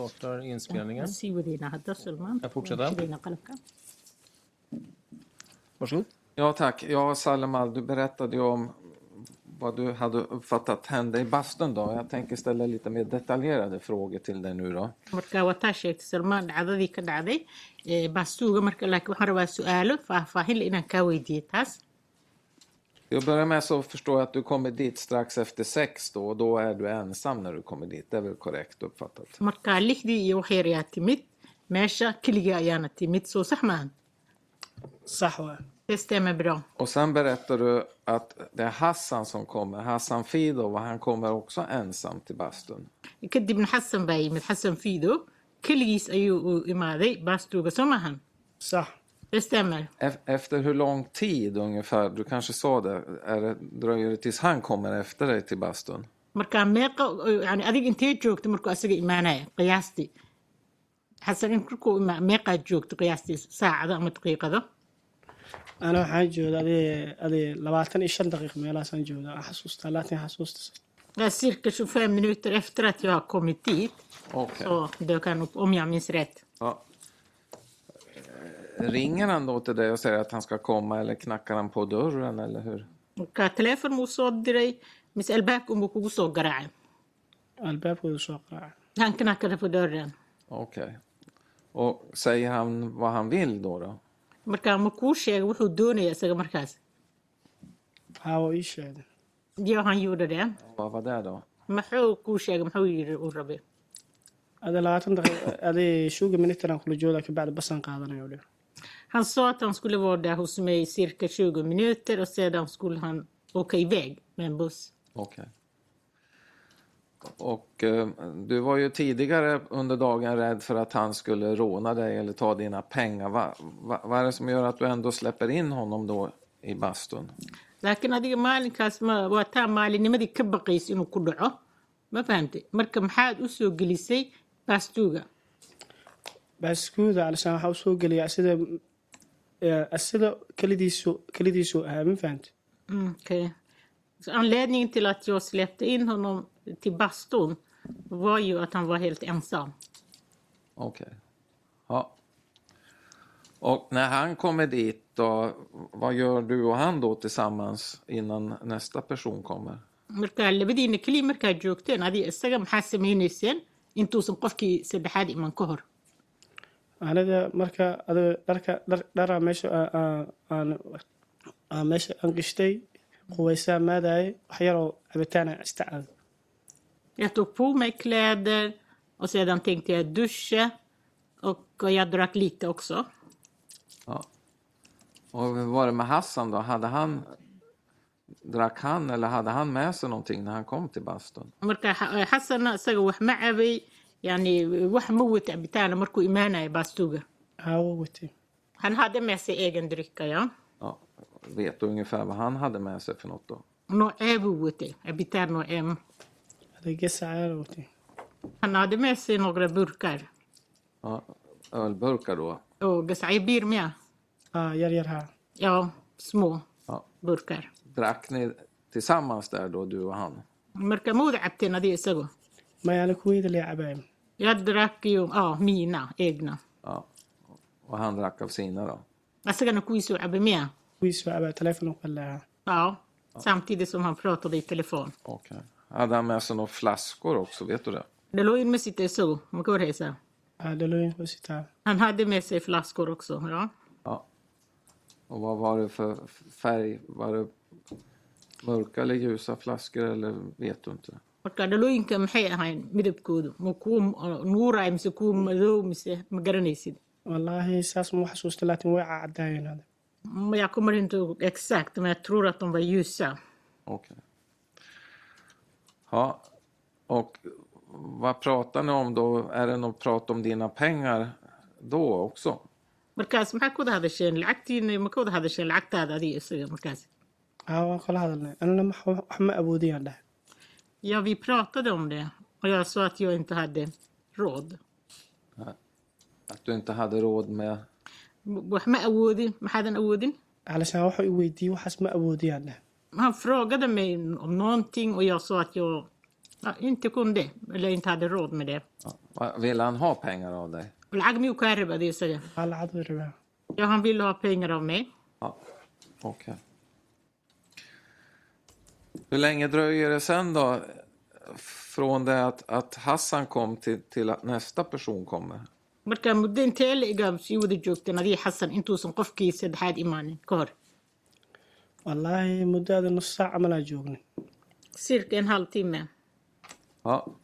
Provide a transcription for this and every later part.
Startar inspelningen. Mm. نسيب دينا هدا سلمان Jag fortsätter. دينا قلبك Varsågod. Ja, tack. Ja, Salamal, du berättade ju om vad du hade uppfattat hände i bastun då. Jag tänker ställa lite mer detaljerade frågor till dig nu då. marka wataa sheegtay salmaan dhacdadii ka dhacday ee, baastuuga marka laakiin waxaan rabaa su-aalo faahfaahin leh inaan kaa weydiiyo taas Till att börja med så förstår jag att du kommer dit strax efter sex då och då är du ensam när du kommer dit. Det är väl korrekt uppfattat? marka lixdii iyo wax yar ayaa timid meesha keliga ayaana timid soo sax maahan صح و- testämmer bra Och sen berättar du att det är Hassan som kommer, Hassan Fido, och han kommer också ensam till bastun. kadibna xasan baa yimid xasan fiido keligiis ayuu uu imaaday baastuuga soo maahan صح testämmer E- Efter hur lång tid ungefär, du kanske sa det, är det dröjer det tills han kommer efter dig till bastun? marka meeqa yani adiga intee joogta markuu asaga imaanaya qiyaastii xasan in markuu ima- meeqaad joogta qiyaastii saacada ama daqiiqado انا waxaan joogaa adee adee 25 daqiiq meelaasaan joogaa Aan xasuustaa laakiin xasuusta Jag cirka 25 minuter efter att jag har kommit dit. Okej. Så dök han upp, om jag minns rätt. Ja. Eh, Ringer han då till dig och säger att han ska komma eller knackar han på dörren eller hur? Markaa teleefon muu soo diray mise albaabka unbuu kugu soo garaacay albaabkooda soo qaaca han knackade på dörren Okej. Och säger han vad han vill då? då? markaa ma kuu sheegay wuxuu doonaya isaga markaas haawo ii sheegay yo han gjorde det Vad var det då? maxuu kuu sheegay maxuu yidhi uu rabay adee 20 daqiiq adee shuuga minitaran kula joogaa kabacdi basan qaadanayo dhe han sa att han skulle vara där hos mig cirka 20 minuter och sedan skulle han åka iväg med en buss Okej. Och eh, du var ju tidigare under dagen rädd för att han skulle råna dig eller ta dina pengar. Va, va, vad är det som gör att du ändå släpper in honom då i bastun? laakiin adiga maalinkaas ma waa taa maalinimadii ka baqaysay inuu ku dhaco ma fahamtay marka maxaad u soo gelisay baastuuga baaskuuda alisaan waxaa usoo geliyaa sida eh, sida kelidiisu kelidiisu ahaa ma fahamtay Mm, Okej. Så Anledningen till att jag släppte in honom till bastun var ju att han var helt ensam. Okej. Ja. Och när han kommer dit då, vad gör du och han då tillsammans innan nästa person kommer? Markaa labadiina keliya markaad joogteen adiga isaga maxaa samaynayseen intuusan qofkii saddexaad iman ka hor anada marka adee dharka dhar- dhara meesha aa- aa- aan aan meesha aan qishtay qubaysaa maadaaye wax yaroo cabitaana ista caday Jag tog på mig kläder och sedan tänkte jag duscha och jag drack lite också. Ja. Och hur var det med Hassan då? Hade han, drack han eller hade han med sig någonting när han kom till bastun? Marka Ha- eh, Hassanna isaga wax ma cabay yani wax ma wata cabitaana markuu imaanaya baastuuga haawo watay han hade med sig egen drycka ja Ja. Vet du ungefär vad han hade med sig för något då? noocee buu watay cabitaan noocee ma adeega sacaada watay Han hade med sig några burkar Ja. Ölburkar då? och gasajbir med. aa yar yar haa Ja, små Ja. burkar. Drack ni tillsammans där då, du och han? Marka ma wada cabteen adiga isagu? maya ana kuweyda lee cabaaya Jag drack ju ja, mina egna. Ja. Och han drack av sina då? Asagana kuisuu cabay miya? kuwiis waa cabaa teleefon uqan lahaa Ja, samtidigt som han pratade i telefon. Okej. Hade han med sig några flaskor också? Vet du det? Dhalooyin ma sita isagu? Ma ka warhaysaa? aa dhalooyin hoositaa Han hade med sig flaskor också. Ja. Ja. Och vad var det för f- färg? Var det mörka eller ljusa flaskor eller vet du inte? Marka dhalooyinka maxay ahayn midabkoodu? Ma kuu uh, nuuraay mise kuu madow mise ma garanaysid? wallaahi saas ma u xasuusta laakiin way cacadaayeen hada Mm, Jag kommer inte ihåg exakt, men jag tror att de var ljusa. Okej. Ja. Och vad pratar ni om då? Är det något prat om dina pengar då också? markaas maxaa ku wada hadasheen lacagtiina ma ka wada hadasheen lacagtaada adiga isaga markaas aa waan kala hadalnay anina max- wax ma awoodiyaan dhahay ja vi pratade om det och jag sa att jag inte hade råd Att du inte hade råd med... M- wax ma awoodin maxaadan awoodin alisaan waxa i weydiiyey waxaas ma awoodiyaan dhahay han frågade mig om någonting och jag sa att jag Ja, inte kunde, eller inte hade råd med det. Ja. Va- Vill han ha pengar av dig? والعقمي وكهرب هذه السنة alla hade vi det. jag han ville ha pengar av mig. Ja. Okej. Hur länge dröjer det sen då? Från det att, att Hassan kom till, till att nästa person kommer? marka muddo intee le'eg aa sii wada joogteen adii xasan intuusan qofkii saddexaad imaanin ka hor Wallahi muddo hade nus saac camal aan joognay. sirkeen hal timme Ja.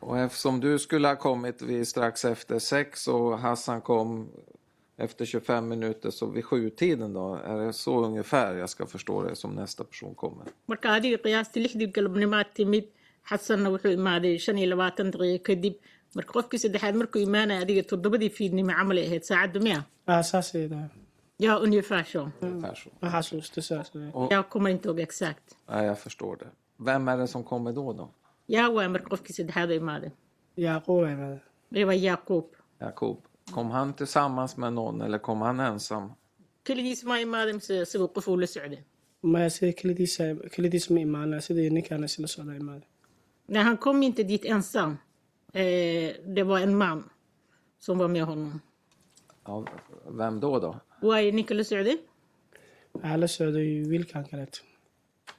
Och eftersom du skulle ha kommit vid strax efter sex och Hassan kom efter 25 minuter, så vid sjutiden då? Är det så ungefär jag ska förstå det som nästa person kommer? marka adigii qiyaastii lixdii galabnimaad timid xasanna wuxuu imaaday shan iyo labaatan daqiiqo kadib marka qofkii saddexaad markuu imaanaya adiga toddobadii fiidnimo camal ay ahayd saacaddu miya Ah, saas ay tahay. yaa unifaasho Ungefär så. Ma xasuusta saas ay. yaa kuma intog exact Ja, jag förstår det. Vem är det som kommer då? då? yaa waay marka qofkii saddexaad oo imaaday Yaaqoob ay maada. Ee waa yaaquub Jakob. Kom han tillsammans med någon eller kom han ensam? keligiis maa imaaday mise isagoo qof uu la socday Maya sida kelidiis ay- kelidiis ma imaana sidii ninkaan isla socda imaada. Nej, han kom inte dit ensam. Eh, det var en man som var med honom. Ja, vem då? då? Why Nicholas Ude? Waxaa la socday wiilkan kaleeto.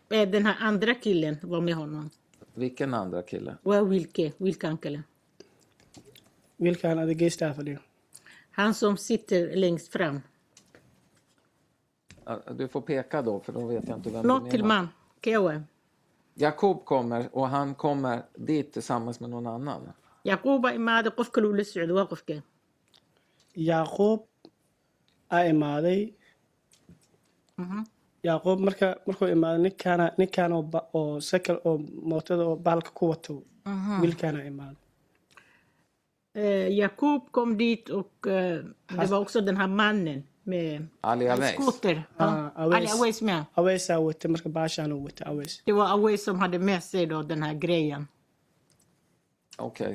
Eh, den här andra killen var med honom. Vilken andra kille? Var Wilke, Wilke Ankele. Wiilkan ada geestaa fadhiyo. Han som sitter längst fram. Ja, Du får peka då, för då vet jag inte vem du Något till menar. man. Kewa. Jakob kommer och han kommer dit tillsammans med någon annan. Yaquba imaade qof kale uu la socdo waa qofkee Yaaqoob aa imaaday. Yaaqoob marka markuu imaaday ninkaana ninkaan oo ba- oo sakal oo mootada oo bahalka ku wato wiilkaana imaaday. eh, Jakob kom dit och eh, det var också den här mannen med Ali Aweis. skoter. Ah, Ja, Ali Aweis. Aweis med. Aweysaa wata marka baashaan uu wata aweys. Det var Aweis som hade med sig då den här grejen. Okej.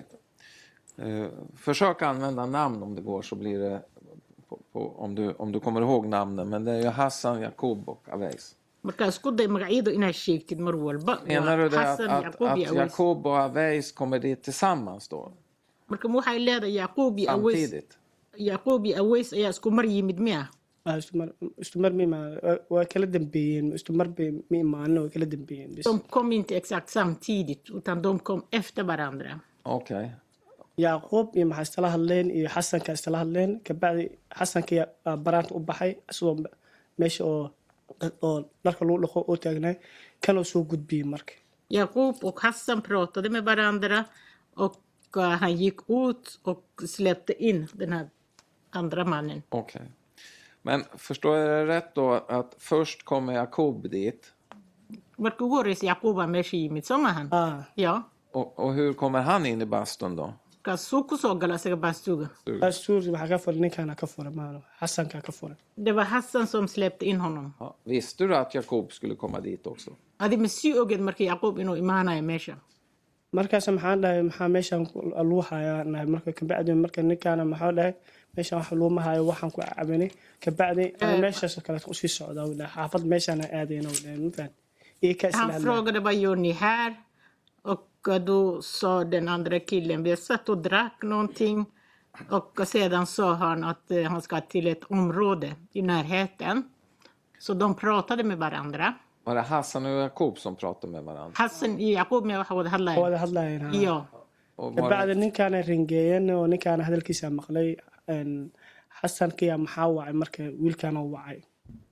Eh, försök använda namn om det går, så blir det på, på, om, du, om du kommer ihåg namnen. Men det är ju Hassan, Jakob och Aweis. marka isku day magacyadu inaad sheegtid mar walba Menar du det att, xasan att, yacquub att iyo aweys Jakob och Aweis kommer dit tillsammans då? marka ma waxay leedahay yacquub iyo aweys Samtidigt? yacquub iyo aweys ayaa isku mar yimid miya Ah, isku mar- isku mar ma imaanin. Waa- waa kala dambeeyeen isku mar bay ma imaanin waa kala dambeeyeen bis de kom inte exakt samtidigt utan de kom efter varandra Okej. yaaqoob iyo maxaa istala hadleen iyo xasanka istala hadleen kabacdi xasanka ayaa- aa baraanta u baxay isagoo me- meesha oo oo dharka lagu dhaqo oo taagnaa kanoo soo gudbiyey marka yacquub och hassan pratade med varandra och eh, han gick ut och släppte in den här andra mannen Okej. Men förstår jag det rätt då att först kommer Jakob dit marka ugu horreysa yacquub baa meesha yimid soo maahan ah, ya och, och hur kommer han in i bastun då? markaasuu kusoo gala isaga baastuuga astuur waxaa ka furay ninkaana ka furay maano xasankaa ka furay det var hassan som släppte in honom Ja, visste du att Jakob skulle komma dit också? adi ma sii ogeed marka yacquub inuu imaanayo meesha markaas maxaan dhahay maxaa meeshaan ku- lagu hayaa nahay marka kabacdi marka ninkaana maxaa dhahay meeshaan wax looma hayo waxaan ku cabinay kabacdi ana meeshaasoo kaleet usii socdaa u dhahay xaafad meeshaana aadayna u dhahay mafahant iyo kaa isla Han hadlaya frågade vad gör ni här? Och eh, då sa den andra killen, vi satt och drack någonting. Och sedan sa han att eh, han ska till ett område i närheten. Så de pratade med varandra. Var det Hassan och Jakob som pratade med varandra? Hassan Jakob med Wahawad Hallay. wada hadlayeen ha. Ja. Och var kabacdi det, ninkaana ringeeyeen oo ninkaana hadalkiisa maqlay een, xasankiya maxaa wacay marka wiilkaana u wacay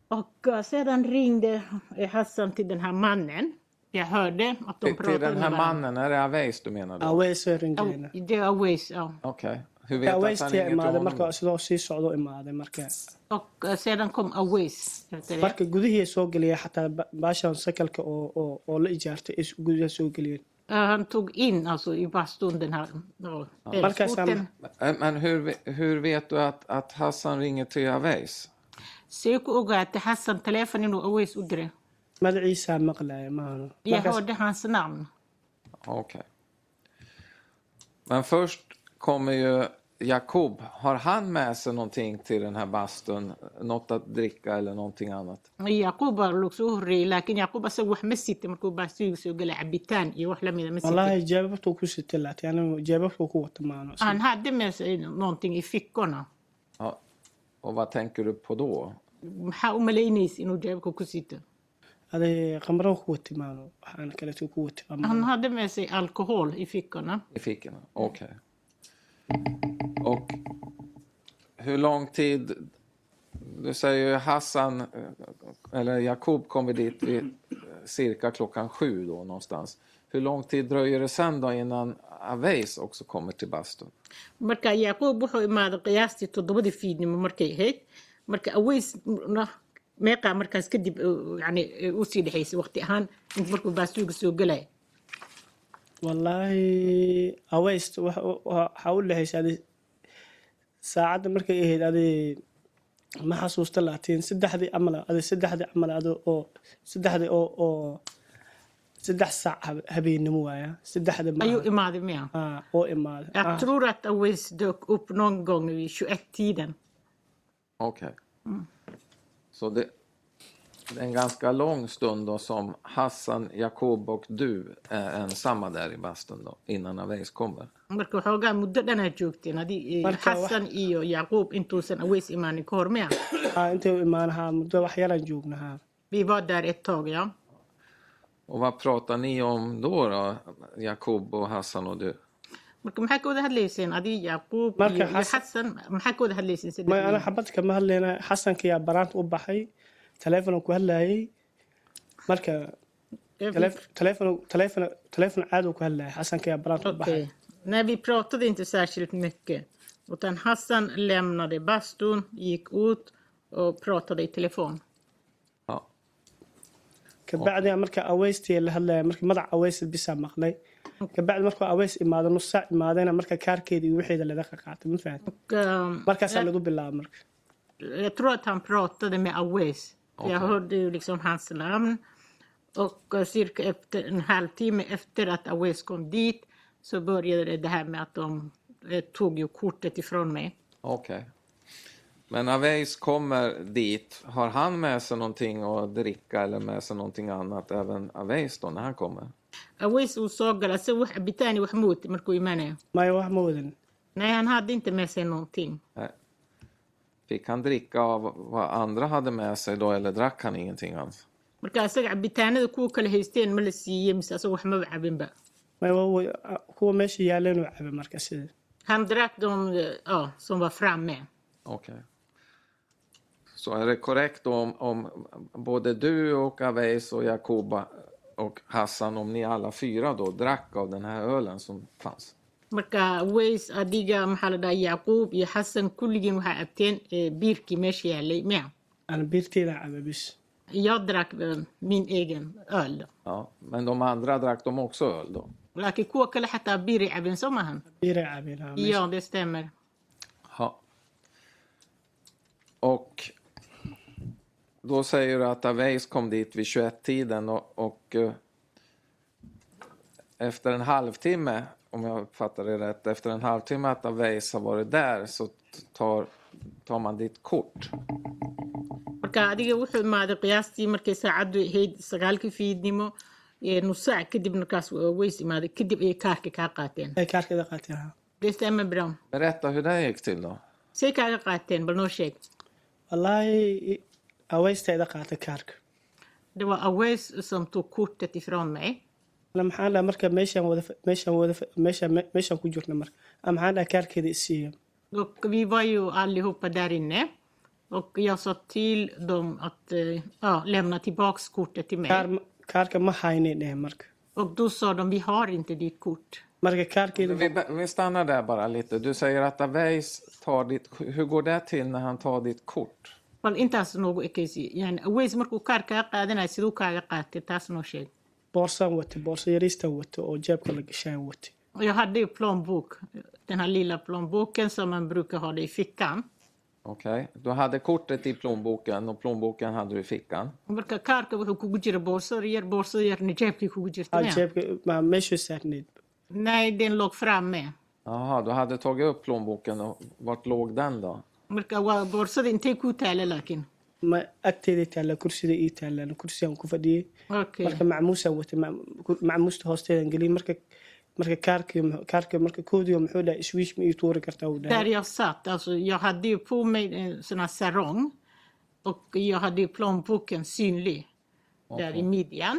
Och eh, sedan ringde eh, Hassan till den här mannen. Jag hörde att de till, till pratade den här med varandra. mannen, är det Aweis du menar då? aweysoo ringeeyna Det är Aweys, ja. Okej. Hur vet du att han aweystii ringer till imaaday marka honom? sidoo sii socdo imaaday marka Och eh, sedan kom Aweys. efter det. marka gudihii soo geliyay xataa ba- baashan sakalka oo oo oo la ijaartay is gudaha soo geliyeen Ja, Han tog in alltså i bastun den här ja, Marcus, elskoten. han- Men- Men hur, ve- hur vet du att, att Hassan ringer till Aweis? Sök och ogaate Hassan telefonen och Aweys udre. magaciisaa maqlaya maahano Jag hörde hans namn. Okej. Men först kommer ju Jakob, har han med sig någonting till den här bastun? Något att dricka eller någonting annat? يعقوب لوكسوري لكن يعقوب بس واحد مسيت مركوب بس يسوق لعبتان يروح لم إذا wallahi مسيت jeebabtuu ku sitilaat yani jeebabtuu ku wata maano Han hade med sig någonting i fickorna. Ja. Och vad tänker du på då? maxaa u malaynaysa inuu jeebka ku sito aday qamran ku wata maano waxaan kaleetuu ku wata waa Han maano hade med sig alkohol i fickorna. I fickorna? Okej. Och hur lång tid... Du säger ju Hassan, eh, eller Jakob, kommer dit vid cirka klockan sju då någonstans. Hur lång tid dröjer det sen då innan Aves också kommer till bastun? marka yacquub wuxuu imaaday qiyaastii toddobadii fiidnimo markay ahayd marka aweysna meeqaa markaas kadib uh, yani uh, usii dhexaysay waqti ahaan int markuu baasuuga soo gelaya wallaahi aweyst waxaa u dhexaysa adi saacadda markay ahayd adi ma xasuusta laatiin saddexdii amala adi saddexdii amala adi oo saddexdii oo oo saddex saac hab- habeennimo waaya saddexdii ma ayuu imaaday miya ah, oo imaaday jag Ah, tror att aweys dök upp någon gång vid 21-tiden Okej. Så det, det är en ganska lång stund då som Hassan, Jakob och du är ensamma där i bastun då, innan Aves kommer. marka waxoogaa muddo dhanaa joogteen adi eh, Marka wax- xasan iyo yacquub intuusan aweys imaanin ka hor miya ah, intay u imaanahaa muddo wax yaran joognahaa vi var där ett tag ja Och vad pratar ni om då, då Jakob och Hassan och du? marka maxaa ka wada hadlayseen adi yacquub Marka iyo iyo Xasan- xasan maxaa ka wada hadlayseen ma ana saddexdiina xabad kama hadlayna xasanka yaa baraanta u baxay taleefonan ku hadlaayay marka taleef- taleefon taleefon taleefon caadi ku hadlaayay xasanka yaa baraanta u baxay Okej. Nej, vi pratade inte särskilt mycket. Utan Hassan lämnade bastun, gick ut och pratade i telefon. Ja. kabacdi marka aweystii la hadlaya marka magaca aweysi bisaa maqlay kabacdi markuu aweys imaado nus saac imaadayna marka kaarkeeda iyo waxeeda ladaga qaatay ma fahanti Och, ehm, markaasaa jag, lagu bilaaba marka jag tror att han pratade med Awais. Jag hörde ju liksom hans namn. Och eh, cirka efter en halvtimme efter att Awais kom dit så började det här med att de eh, tog ju kortet ifrån mig. Okej. Men Aves kommer dit. Har han med sig någonting att dricka eller med sig någonting annat även Aves då när han kommer? Awais och Sagala, så Bitani och Mahmoud, Marko Imane. maya wax ma wadan Nej, han hade inte med sig någonting. Nej. Fick han dricka av vad andra hade med sig då eller drack han ingenting alls? marka isaga cabitaanada kuwa kala haysteen ma la siiyey mise asaga wax maba cabinba maya waa wa- a- kuwa meesha yaaleen u cabay marka sida han drack de eh, ja, som var framme Okej. Så är det korrekt då om, om både du och Aves och Jakoba och Hassan, om ni alla fyra då drack av den här ölen som fanns? marka ways adiga maxaa la dhaha yacquub iyo xasan kulligiin waxaa abteen eh, biirkii meesha yaalay miya ana biirteeda cabay bis jag drack eh, min oh, egen öl Ja, men de andra drack de också öl då? laakiin kuwa kale xataa biiray cabeen soo maahan biiray cabeen ah, meesha. ja det stämmer Ja. Och då säger du att Aves kom dit vid 21-tiden och, och eh, efter en halvtimme, om jag uppfattar det rätt, efter en halvtimme att Aves har varit där så t- tar, tar man ditt kort. marka adiga wuxuu imaaday qiyaastii markay saacaddu ahayd sagaalkii fiidnimo eh, nus saac kadib markaas ways imaaday kadib ayay kaarka kaa qaateen ay kaarkeeda qaatay ah. det stämmer bra Berätta hur det gick till då. say kaaga qaateen bal noo sheeg wallaahi aweysteeda qaatay kaarka det var Aways som tog kortet ifrån mig ana maxaan dhaha marka meeshaan wada fa- meeshaan wada fa- meeshaan me- meeshaan ku jirna marka ama maxaan dhaha kaarkeeda isiiya och vi var ju allihopa där inne och jag sa till dem att eh, ja, lämna tillbaks kortet till kaar mig ma- kaarka ma haynay dhehen marka och då sa de vi har inte ditt kort marka kaarkeeda Vi, be- vi stannar där bara lite. Du säger att Aves tar ditt... Hur går det till när han tar ditt kort? bal intaas noogu ekaysiiye yani Aways markuu kaar kaaga qaadanaya siduu kaaga qaatay taas noo sheeg boorsaan watay boorso yariistaan watay oo jeebka la gashaan watay och jag hade ju plånbok den här lilla plånboken som man brukar ha det i fickan Okej. Du hade kortet i plånboken och plånboken hade du i fickan. marka kaarka wuxuu kugu jira boorsada yar boorsada yarna jeebkay kugu jirta Ah, miya? jeebka ma meeshuu saarneyd nej den låg framme Jaha, du hade tagit upp plånboken och vart låg den då? marka waa boorsada intay kuu taala laakiin ma agteeda taalla kursida ii taalaan kursigaan ku fadhiyey Okay. marka macmuusaan watay mac- macmuusta hoosteedan geliyey marka marka kaarkii kaarkii marka koodiga muxuu dhahay swiish ma ii tuuri kartaa uu Där dhahay jag satt, alltså, jag hade ju på mig en sån här sarong och jag hade ju plånboken synlig där i midjan.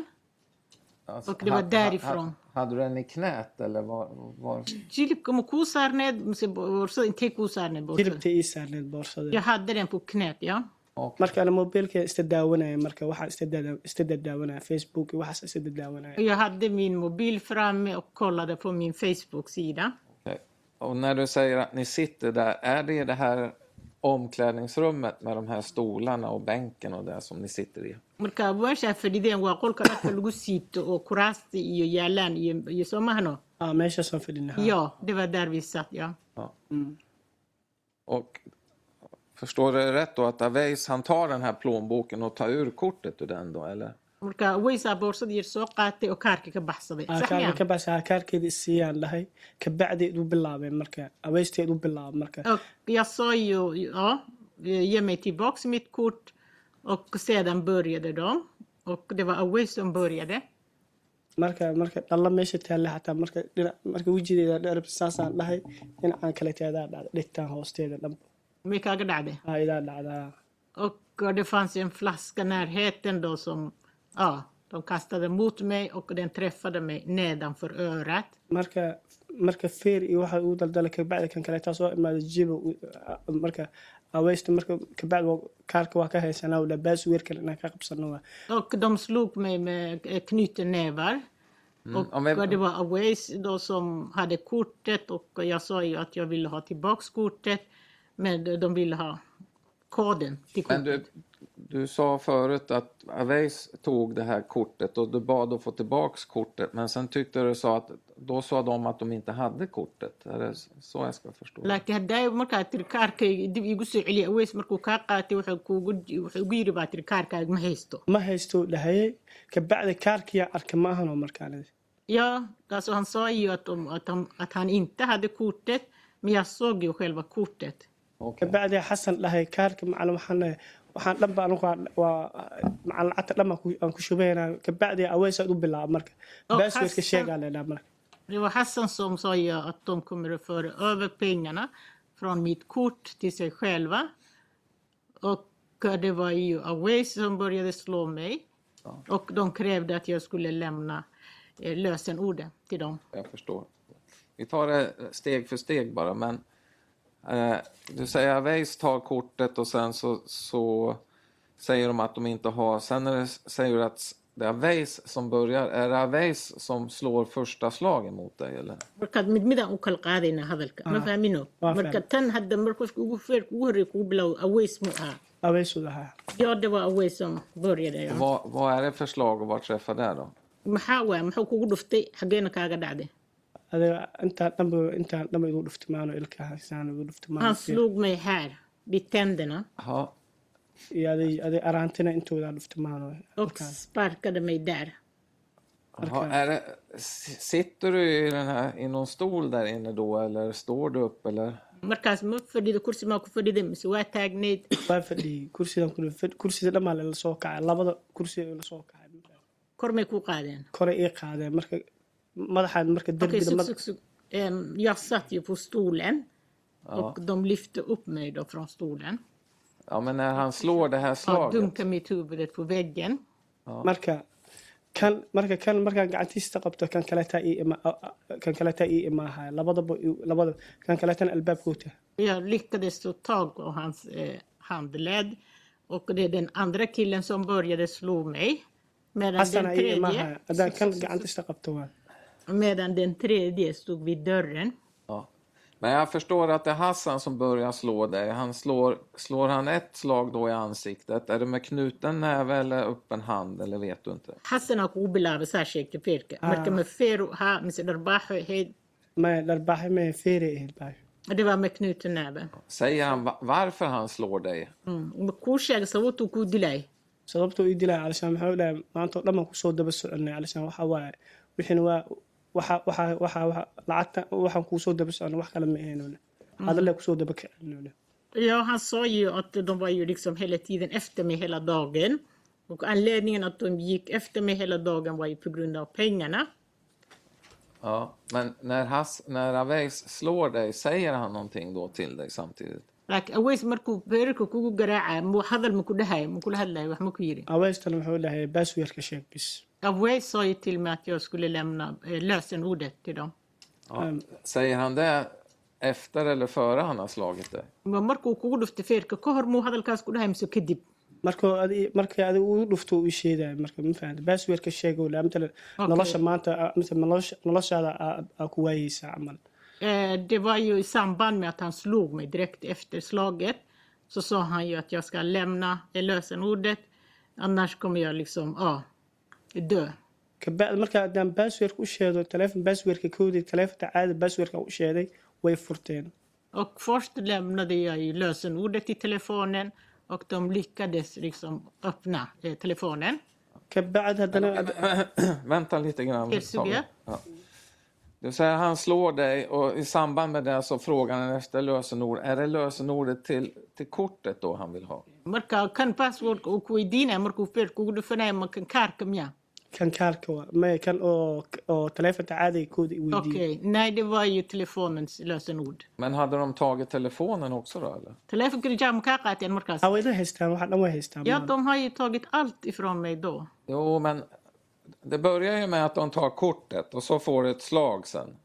Alltså, Och det var ha- ha- därifrån. Mm. ha- Hade du den i knät eller var? var... Jilibka ma kuu saarneed mise boorsada intay kuu saarneed boorsada? jilibta ii saarneed boorsada Jag hade den på knät, ja. Och, marka ana mobilka iska daawanaya marka waxaa iska daada- iska dadaawanaya facebook iyo waxaas iska dadaawanaya Och jag hade min mobil framme och kollade på min Facebook-sida. Okej. och när du säger att ni sitter där, är det i det här omklädningsrummet med de här stolarna och bänken och det som ni sitter i? marka meeshaa fadhideen waa qolka dharka lagu siito oo kuraasta iyo yaalaan iyo iyo soo mahano ah meeshaasaan fadhinaha yo det var där vi satt ja Ja. Mm. Och förstår du rätt då att Aweis han tar den här plånboken och tar ur kortet ur den då eller? marka waysaa boorsada yar soo qaatay oo kaarka ka baxsaday Ah, Sax kaarka miyaa? ka baasa ah, kaarkeeda isiiyaan dhahay kabacdeed u bilaabeen marka aweysteed u bilaabay marka Och jag sa ju ja, ge mig tillbaks mitt kort och sedan började de. Och det var Away som började. marka marka dhalla meesha taalla xataa marka dhinac marka wejideeda dherab saasaan dhahay dhinacaan kale teedaa dhacda dhigtaan hoosteeda dhanba Mycket agdade. aa idaa dhacdaa Och eh, det fanns en flaska i närheten då som ja, de kastade mot mig och den träffade mig nedanför örat. marka marka feer iyo waxa uu daldalay kabacdi kan kaleetaa soo imaada jibo u- a- marka aweysta marka kabacdi waa- kaarka waa ka haysanaa dha baas weer kale inaan ka qabsano waa Och de slog mig med eh, knytnävar. ja, Och men- det var Aways då som hade kortet och jag sa ju att jag ville ha tillbaks kortet. Men de ville ha koden till Men kortet. du, du sa förut att Aweis tog det här kortet och du bad att få tillbaks kortet men sen tyckte du sa att då sa de att de inte hade kortet. Är det så jag ska förstå? laakiin haddaa markaa tiri kaarkayga dib igu soo celiya aweys markuu kaa qaatay wuxuu kuugu wuxuu ugu yiri baa tiri kaarkaaga ma haysto ma haysto dhahaye kabacdi kaarkiyaa arka ma ahanoo markaan ja alltså han sa ju att, om, att, han, att han inte hade kortet men jag såg ju själva kortet Okej. kabacdi xasan dhahay kaarka macalin waxaan dhahay waxaan dhanba anigu waa waa macalin lacagta dhanba aan ku shubaynaa kabacdi aweysaad u bilaaba marka Oo, baas weerka Xasan- sheegaa leedhaa marka det var Hassan som sa ju att de kommer att föra över pengarna från mitt kort till sig själva och det var ju Aways som började slå mig och de krävde att jag skulle lämna eh, lösenorden till dem Jag förstår. Vi tar det steg för steg bara. Men eh, Du säger Aweis tar kortet och sen så, så säger de att de inte har... Sen är det, säger du att det är Aweis som börjar. Är det Aweis som slår första slagen mot dig? Eller? markaad mid midaan u kala qaadaynaa hadalka ma fahmino waa marka fahmay. tan hadda mar qofka ugu feerka ugu horreeya kugu bilaabo aways mu aha aweysuu dhahaa yo de waa aways som booryada Och Vad, vad är det för slag och var träffar det då? maxaa waaya muxuu kugu dhuftay xageena kaaga dhacday adiga intaa dhanba intaa dhanba igu dhufti maano ilka haysaan igu dhufti han maano slog mig här vid tänderna Ja, iyo adig adig araantina intoodaa dhufti maano och sparkade mig där jaha, är det, s- sitter du i, den här, i någon stol där inne då eller står du upp? Eller? markaas ma fadhido kursi maa ku fadhiday mise waa taagnayd waa fadhiyey kursidan ku dhufti kursida dhanbaa lala soo kacay labada kursi la soo kacay kor may kuu qaadeen kore ii qaadeen marka madaxaan marka okej derbiga sug madax sug sug Ehm, jag satt ju på stolen och de lyfte upp mig då från stolen Ja, men när han slår det här och slaget. dunkade mitt huvud på väggen marka kan marka kan markaan gacantiista qabto kan kaleetaa ii ima a- a- kan kaleetaa ii imaahaya labadaba ii- labada kan kaleetana albaabkoota Jag lyckades få tag på hans eh, handled och det är den andra killen som började slå mig. Medan den, xasana ii tredje, imaahaya haddaan kan gacantiista qabto waan medan den tredje stod vid dörren. Ja. Men jag förstår att det är Hassan som börjar slå dig. Han slår, slår han ett slag då i ansiktet? Är det med knuten näve eller öppen hand? Eller vet du inte? حسنا كو بلعب ساشيك فيرك Ah. مركم فيرو ها مثل رباح هي maya dharbaaxi maya feere ehel baayo det var med knuten näve. Säger han va- varför han slår dig? Mm. Kushag sawtu ku dilay. sababta uu ii dilaya calashaan maxaa dhahay maanta oo dhan baan kusoo daba soconay calashaan waxa waaye wixina waa waxa waxa waxa waxa lacagta waxaan kuu soo daba socon wax kale ma ahayn hadallee kusoo daba kicin Ja, han sa ju att de var ju liksom hela tiden efter mig hela dagen. Och anledningen att de gick efter mig hela dagen var ju på grund av pengarna. Ja, men när, Hass, när Aves slår dig, säger han någonting då till dig samtidigt? laakiin aweys markuu beerarka kugu garaaca mu hadal maku dhahayo maku la hadlayo wax maku yiri aweystana wuxuu dhahay baasweerka sheeg bis aweys sa ju till mig att jag skulle lämna eh, lösenordet till dem Ja. Säger han det efter eller före han har slagit dig? Ma markuu kugu dhuftay feerka ka hor muu hadalkaas ku dhahay mise kadib markuu adi- markii adiga uu dhufto uu sheeday marka ma fahamta baasweerka sheeg uu dhahay matalan nolosha maanta ah, matalan nolosha- noloshaada aa- aa ku waayeysaa camal Eh, det var ju i samband med att han slog mig direkt efter slaget så sa han ju att jag ska lämna eh, lösenordet annars kommer jag liksom, ja, dö. kabacdi marka haddaan baasweerka u sheedo taleefon baasweerka koodii taleefonta caadi baasweerka u sheeday way furteen Och först lämnade jag ju lösenordet i telefonen och de lyckades liksom öppna eh, telefonen. kabacdi haddana Vänta lite grann. Yes, Tommy. Sofia. Ja. Du säger han slår dig och i samband med det så frågar han efter lösenord. Är det lösenordet till, till kortet då han vill ha? Marka kan password uu ku weydiinaya markuu feer kugu dhufanaya ma kan kaarka miya kan kaarka waa maya kan oo oo taleefonta caadiga koodii weydiiyey Okej, nej det var ju telefonens lösenord. Men hade de tagit telefonen också då eller? Telefonka rajaa ma kaa qaateen markaas? haweenada haystaan waxa dhan way haystaan Ja, de har ju tagit allt ifrån mig då. Jo, men det börjar ju med att de tar kortet och så får du ett slag sen.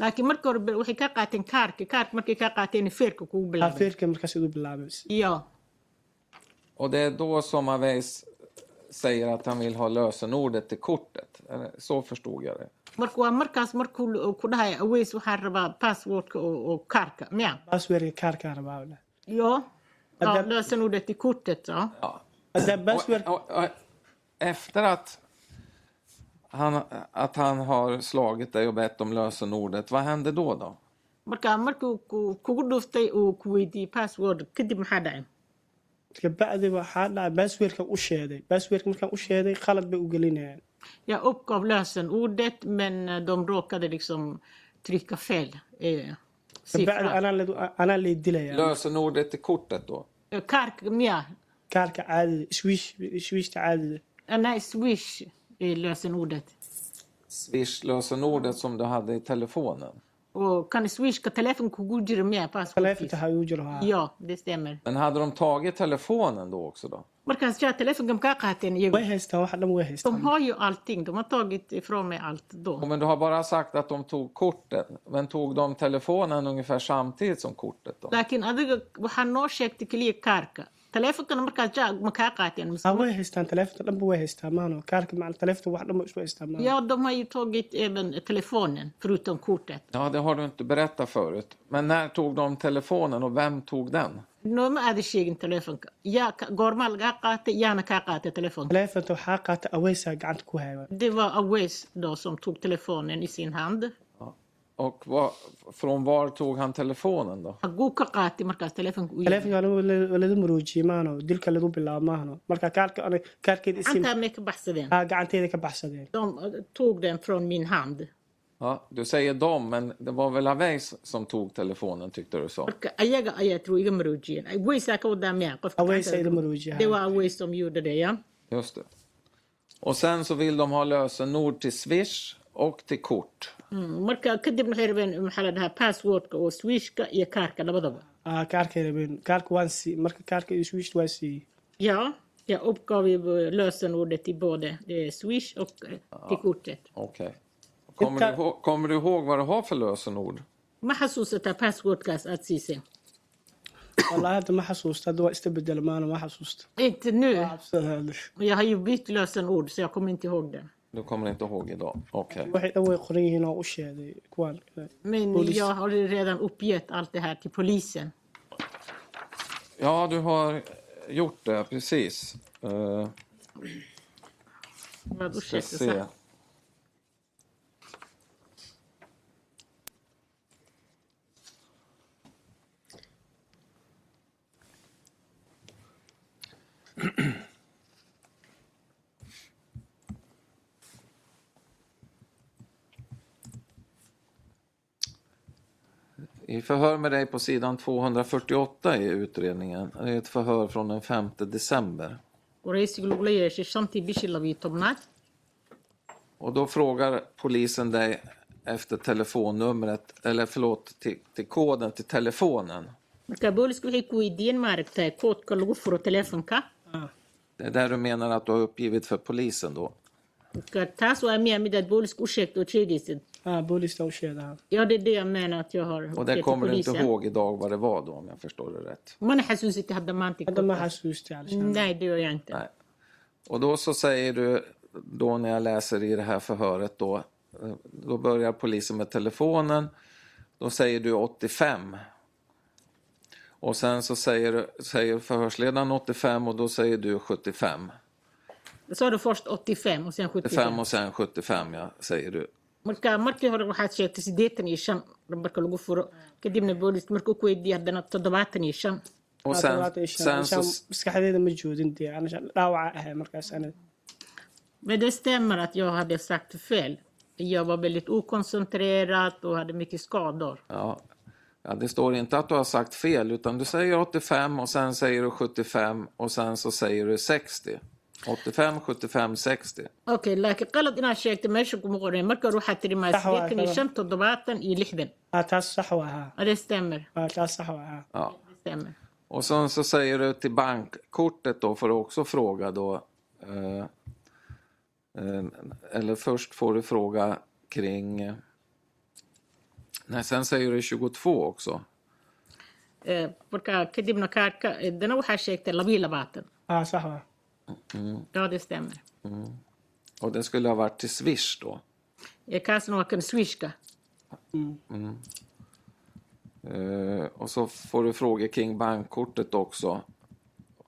laakiin marka hore be- waxay ka qaateen kaarka kaarka markay ka qaateen feerka kugu bilaabay afeerka markaas idu bilaabay iyo Och det är då som Aves säger att han vill ha lösenordet till kortet. Eller, Så förstod jag det. marka waa markaas markuu l- ku dhahay aweys waxaan rabaa passwordka oo oo kaarka miya baasweerka kaarkaa rabaa bla iyo ja, Adapt- lösenordet i kortet ja. Ja. haddaa baasweerka Och, och, och, efter att han, att han har slagit dig och bett om lösenordet, vad hände då? då? marka markuu ku- kugu dhuftay uu ku weydiiyey password kadib maxaa dhacay kabacdi waxaa dhacay baasweerka u sheeday baasweerka markaan u sheeday khalad bay u gelinayaan jag uppgav lösenordet men eh, de råkade liksom trycka fel eh, kabacdi siffra anaa ledu- anaa lay dilayaa Lösenordet till kortet då? Eh, kaarka miya kaarka caadida swiish swiishta caadida Eh, nej swish är lösenordet Swish-lösenordet som du hade i telefonen. Och kan swishka telefonka ugu jira miyaa taleefonta passwordkiisa ha igu jiro haa iyo det stämmer Men hade de tagit telefonen då också? då? markaas jaa telefonka makaa qaateen iyagu way haystaan waxa dhan way de haystaan har ju allting de har tagit ifrån mig allt Och då men du har bara sagt att de tog kortet. Men tog de telefonen ungefär samtidigt som kortet? då? laakiin adiga waxaa noo sheegtay keliya kaarka teleefonkana markaas jaa makaa qaateen mise- ha way haystaan taleefonta dhanba way haystaan maano kaarka maca taleefonta wax dhan way isu haystaan maano ja de har ju tagit även telefonen förutom kortet Ja, det har du inte berättat förut. Men när tog de telefonen och vem tog den? nooma aada sheegin telefonka yaa ka- goormaa lagaa qaatay yaana kaa qaatay telefonka taleefonta waxaa qaata aweysaa gacanta ku haya det var Aways då som tog telefonen i sin hand Ja. Och var, från var tog han telefonen då? haguu ka qaatay markaas telefonka u yimi? taleefonka ladu maroojiyey maano dilka lagu bilaabo maano marka kaarka aniga- kaarkeeda isim Antaa may ka baxsadeen haa gacanteeda ka baxsadeen De eh, tog den från min hand. Ja, du säger dem, men det var väl Aves som tog telefonen tyckte du sa? Marka ayaga ayaa tiri iga maroojiyeen. Ay, Waysaa ka wadaa miyaa qofka? aweysaa idu maroojiyay They haa. were away som gjorde det, ja. Just det. Och sen så vill de ha lösenord till Swish och till kort. Mm, Marka kadibna waxay rabeen maxaa la dhahaa passwordka oo swishka iyo kaarka labadaba. aa kaarkeeda been kaarka waan sii marka kaarka iyo swiish waan siiyey Ja, jag uppgav ju eh, lösenordet till både eh, swish och eh, till kortet. Okej. Kommer, du Titta. ihåg- kommer du ihåg vad du har för lösenord? Ma xasuusataa passwordkaas aad siiseen? wallaahi hadda ma xasuusta hadda waa ista bedel maano ma xasuusta Inte nu. cabsada hadda. Jag har ju bytt lösenord så jag kommer inte ihåg det. Du kommer inte ihåg idag? Okej. waxay dhan way qoran yihiin oo u sheeday kuwaan Men Polis. jag har ju redan uppgett allt det här till polisen. Ja, du har gjort det, precis. Eh, Vad ska ursäkta, så här. se. I förhör med dig på sidan 248 i utredningen, det är ett förhör från den 5 december. waraysiga lagula yeeshay shantii bishii labiyo tobnaad Och då frågar polisen dig efter telefonnumret, eller förlåt, till, till koden till telefonen. marka booliska waxay ku weydiiyeen maaragtay koodka lagu furo telefonka آه. Det är där du menar att du har uppgivit för polisen då. marka taas waa miyaa midaad booliska u sheegto ood sheegaysid Ah, boolista u sheedaa ja det är det jag menar att jag ah, har Och uppgett det till kommer du inte polisen. ihåg idag vad det var då om jag förstår det rätt. mana xasuusita hadda maanta hadda ma xasuusti Alishaan. nej det gör jag inte Nej. Och då så säger du, då när jag läser i det här förhöret då, eh, då börjar polisen med telefonen. Då säger du 85. Och sen så säger, säger förhörsledaren 85 och då säger du 75. jag sa du först 85 och sen 75 85 och sen 75 ja, säger du. marka markii hore waxaad sheegtay siddeetan iyo shan lambarka lagu furo kadibna booliska markuu ku weydiiyey haddana toddobaatan iyo shan Och sen, sen så, maskaxdeeda ma joodin dee Alishaan dhaawaca ahay markaas aniga Men det stämmer att jag hade sagt fel. Jag var väldigt okoncentrerad och hade mycket skador. ja, ja, det står inte att du har sagt fel utan du säger 85 och sen säger du 75 och sen så säger du 60. 85, 75, 60. Okay, laakiin qalad inaad sheegtay meesha kuma qoran marka hore waxaad tidhi maa Sax waa, siddeetan iyo sax shan toddobaatan iyo lixdan Ah, taas sax waa haa Ja, det stämmer. Ah, taas sax waa haa Ja. Det stämmer. Och sen så säger du till bankkortet då får du också fråga då. Eh, eh, eller först får du fråga kring... eh, Nej, sen säger du 22 också. Eh, Marka kadibna kaarka haddana waxaad sheegtay labiyo labaatan Ah, sax waa ja det stämmer. Och det skulle ha varit till Swish då. Eh, Kaasna waa kan swishka Eh, och så får du fråga kring bankkortet också.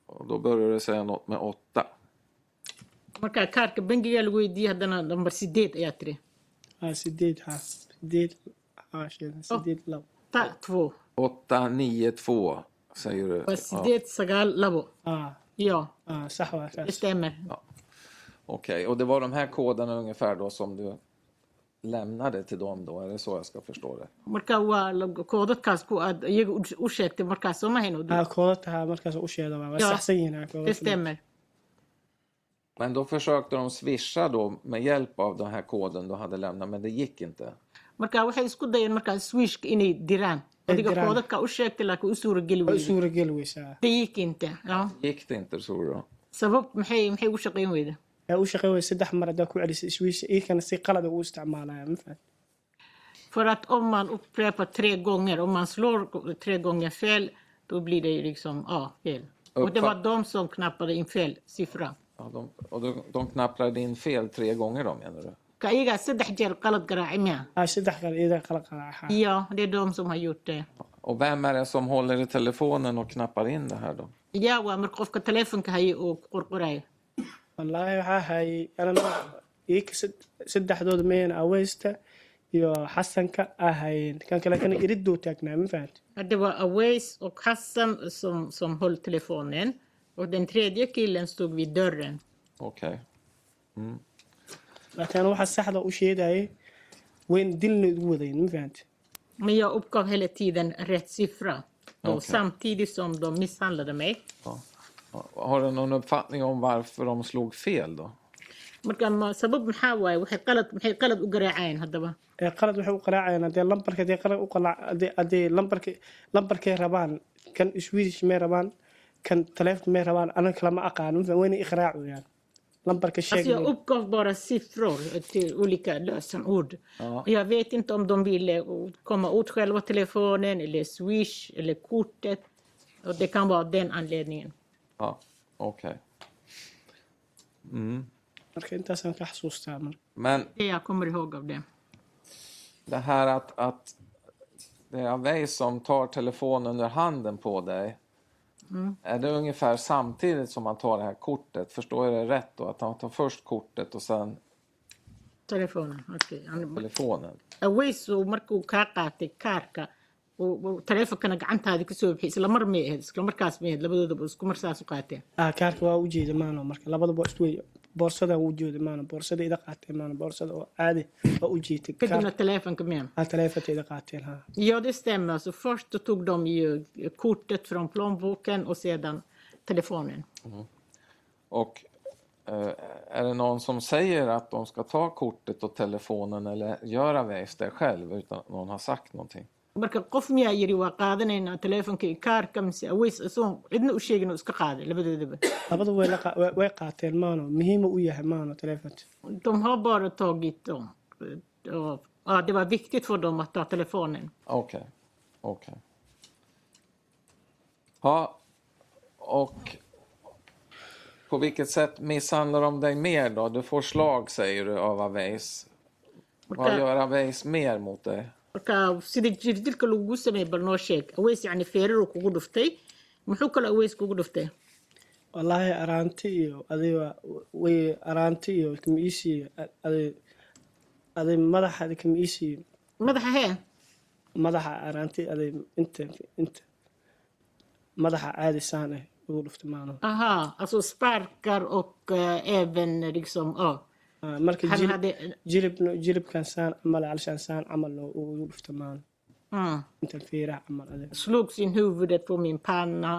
Och då börjar du säga något med 8. marka kaarka bangigaa lagu weydiiyey haddana lambar siddeed ayaa tiri Ah, sideed haa sideed ah sheedan sideed labo ta two 8, 9, 2 säger du. waa siddeed sagaal labo ah yo ah sax waa det taas stämmer. Okej, och det var de här koderna ungefär då som du lämnade till dem då? Är det så jag ska förstå det? marka waa la- koodadkaas ku aad iyaga u- u sheegtay markaas soo ma hayno ah koodadka haa markaas u sheeda waa waa Ja. saxsan yihiin ah, koodadka. det stämmer Men då försökte de swisha då med hjälp av den här koden du hade lämnat, men det gick inte. marka waxay isku dayeen markaas swishka inay diraan adiga diraan. koodadka u sheegtay laakiin u suurageli way weyday suura geli weysaa det gick inte ja Gick det inte tror du? sabab maxay maxay ugu shaqayn weyda yaa u shaqey wey saddex mar haddaa ku celisa iswiisha iikana si qalada u isticmaalaya mafahad för att om man upprepar tre gånger om man slår tre gånger fel då blir det ju liksom ja fel och det var Uppfatt- de som knappade in fel siffra Ja, de, och de, de knapprade in fel tre gånger då menar du? ka iyagaa saddex jeer qalad garaacay miya ah saddex kale iidaa qala qaraaca ja det är de som har gjort det Och vem är det som håller i telefonen och knappar in det här då? yaa waa marka qofka taleefonka haya oo ku qorqoraya wallaahi waxaa hayay anana iika sad- saddexdooda meena aweysta iyo xasanka ahayeen kan kale kana iridoo taagnaa mafahad Ja, Det var Aways och Hassan som, som höll telefonen. Och den tredje killen stod vid dörren. Okej. laakiin anu waxaa saxda u sheegayay wayn dilna igu wadayn mafahad Men jag uppgav hela tiden rätt siffra. Då, Okej. Samtidigt som de misshandlade mig. Ja. Har du någon uppfattning om varför de slog fel då? marka ma- sabab maxaa waaye waxay qalad maxay qalad u garaacayeen haddaba ee qalad waxay u qaraacayaan haddee lambarka haddee qalad u qalaac haddee haddee lambarka lambarkay rabaan kan swedish may rabaan kan taleefon may rabaan anaga kalama aqaano mafahad wayna iqraacayaan lambarka alltså sheegay jag uppgav bara siffror till olika lösenord Ja. Och jag vet inte om de ville komma åt själva telefonen eller swish eller kortet och det kan vara den anledningen Ja, okej. marka intaasaan ka xasuustaa marka Men det jag kommer ihåg av det det här att, att det är Away som tar telefonen ur handen på dig. Är det ungefär samtidigt som han tar det här kortet? Förstår jag det rätt då? Att han tar först kortet och sen telefonen okej Han- telefonen? aweysu markuu kaa qaatay kaarka taleefonkana gacantaada kasoo bixi isla mar may ahayd isla markaas may ahayd labadoodaba isku mar saas u qaateen ah kaarka waa u jeeda maano marka labadaba waa isku wey boorsadan u jeeda maano boorsada ida qaateen maano boorsada oo caadi waa u jeetay kadibna taleefonka men ha taleefonka ida qaateen ha Ja, det stämmer. Så först då tog de ju kortet från plånboken och sedan telefonen. Och eh, är det någon som säger att de ska ta kortet och telefonen eller göra Waze det själv utan att någon har sagt någonting? marka qof miyaa yidhi waa qaadanaynaa teleefonka iyo kaarka mise aweys isagoon cidna u sheegin oo iska qaaday labadoodaba labada way la qaa- way- way qaateen maano muhiima u yahay maano taleefonka de har bara tagit dem. Och, ja, det var viktigt för dem att ta telefonen. Okej, okej. Ja, och på vilket sätt misshandlar de dig mer då? Du får slag säger du av Aweys. Vad Okej. gör Aweys mer mot dig? marka sida jirdilka lagugu sameeyey bal noo sheeg aweys yacni feeraruu kugu dhuftay muxuu kaloo aweys kugu dhuftay wallaahi araanti iyo adiga way araanti iyo kama iisiiyo adig adig madaxa kama iisiiyo madaxa hee madaxa araanti adig inta inta madaxa caadi saan ah ugu dhufta maano aha alltså sparkar och eh, även liksom ja Ah, marka han jilib hade jilibna jilibkan saan camal alshaan saan camal loo ugu dhufta maano mm, intan fiiraha camal adig slog sin huvudet på min panna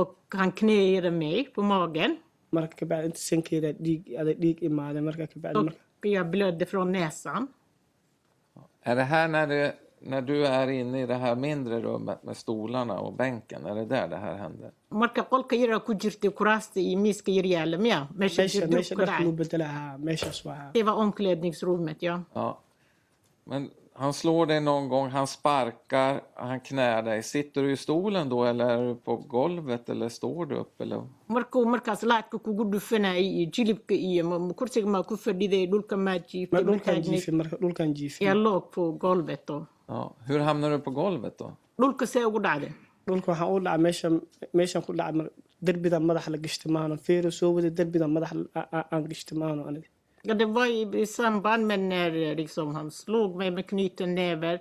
och han knäade mig på magen marka kabacdi inta sankeeda dhiig adig dhiig imaaday marka kabacdi marka och jag blödde från näsan. Är det här när du, när du är inne i det här mindre rummet med stolarna och bänken? Är det där det här händer? marka qolka yaraa ku jirtay kuraasta iyo miiska yar yaala miya meesha meesha jirdilku meesha ka dharka dhacay lagu bedelahaa meeshaas waa det var omklädningsrummet ja Ja. Men han slår dig någon gång, han sparkar, han knär dig. Sitter du i stolen då eller är du på golvet eller står du upp? Eller? markuu markaas laadka kugu dhufanayay iyo jilibka iyo ma- ma kursiga maa ku fadhiday dhulka maa jiiftay ma dhulkan taagnay jiifi marka dhulkan jiifi yaa loog po golbet oo Ja. Hur hamnar du på golvet då? dhulka see ugu dhacday dhulka waxaa u dhaca meesha meeshan ku dhaca mar- derbida madaxa la gashta maano feero soo wada derbida madaxa a- a- aan gashta maano aniga Ja, det var i, i samband med när eh, liksom, han slog mig med knuten näver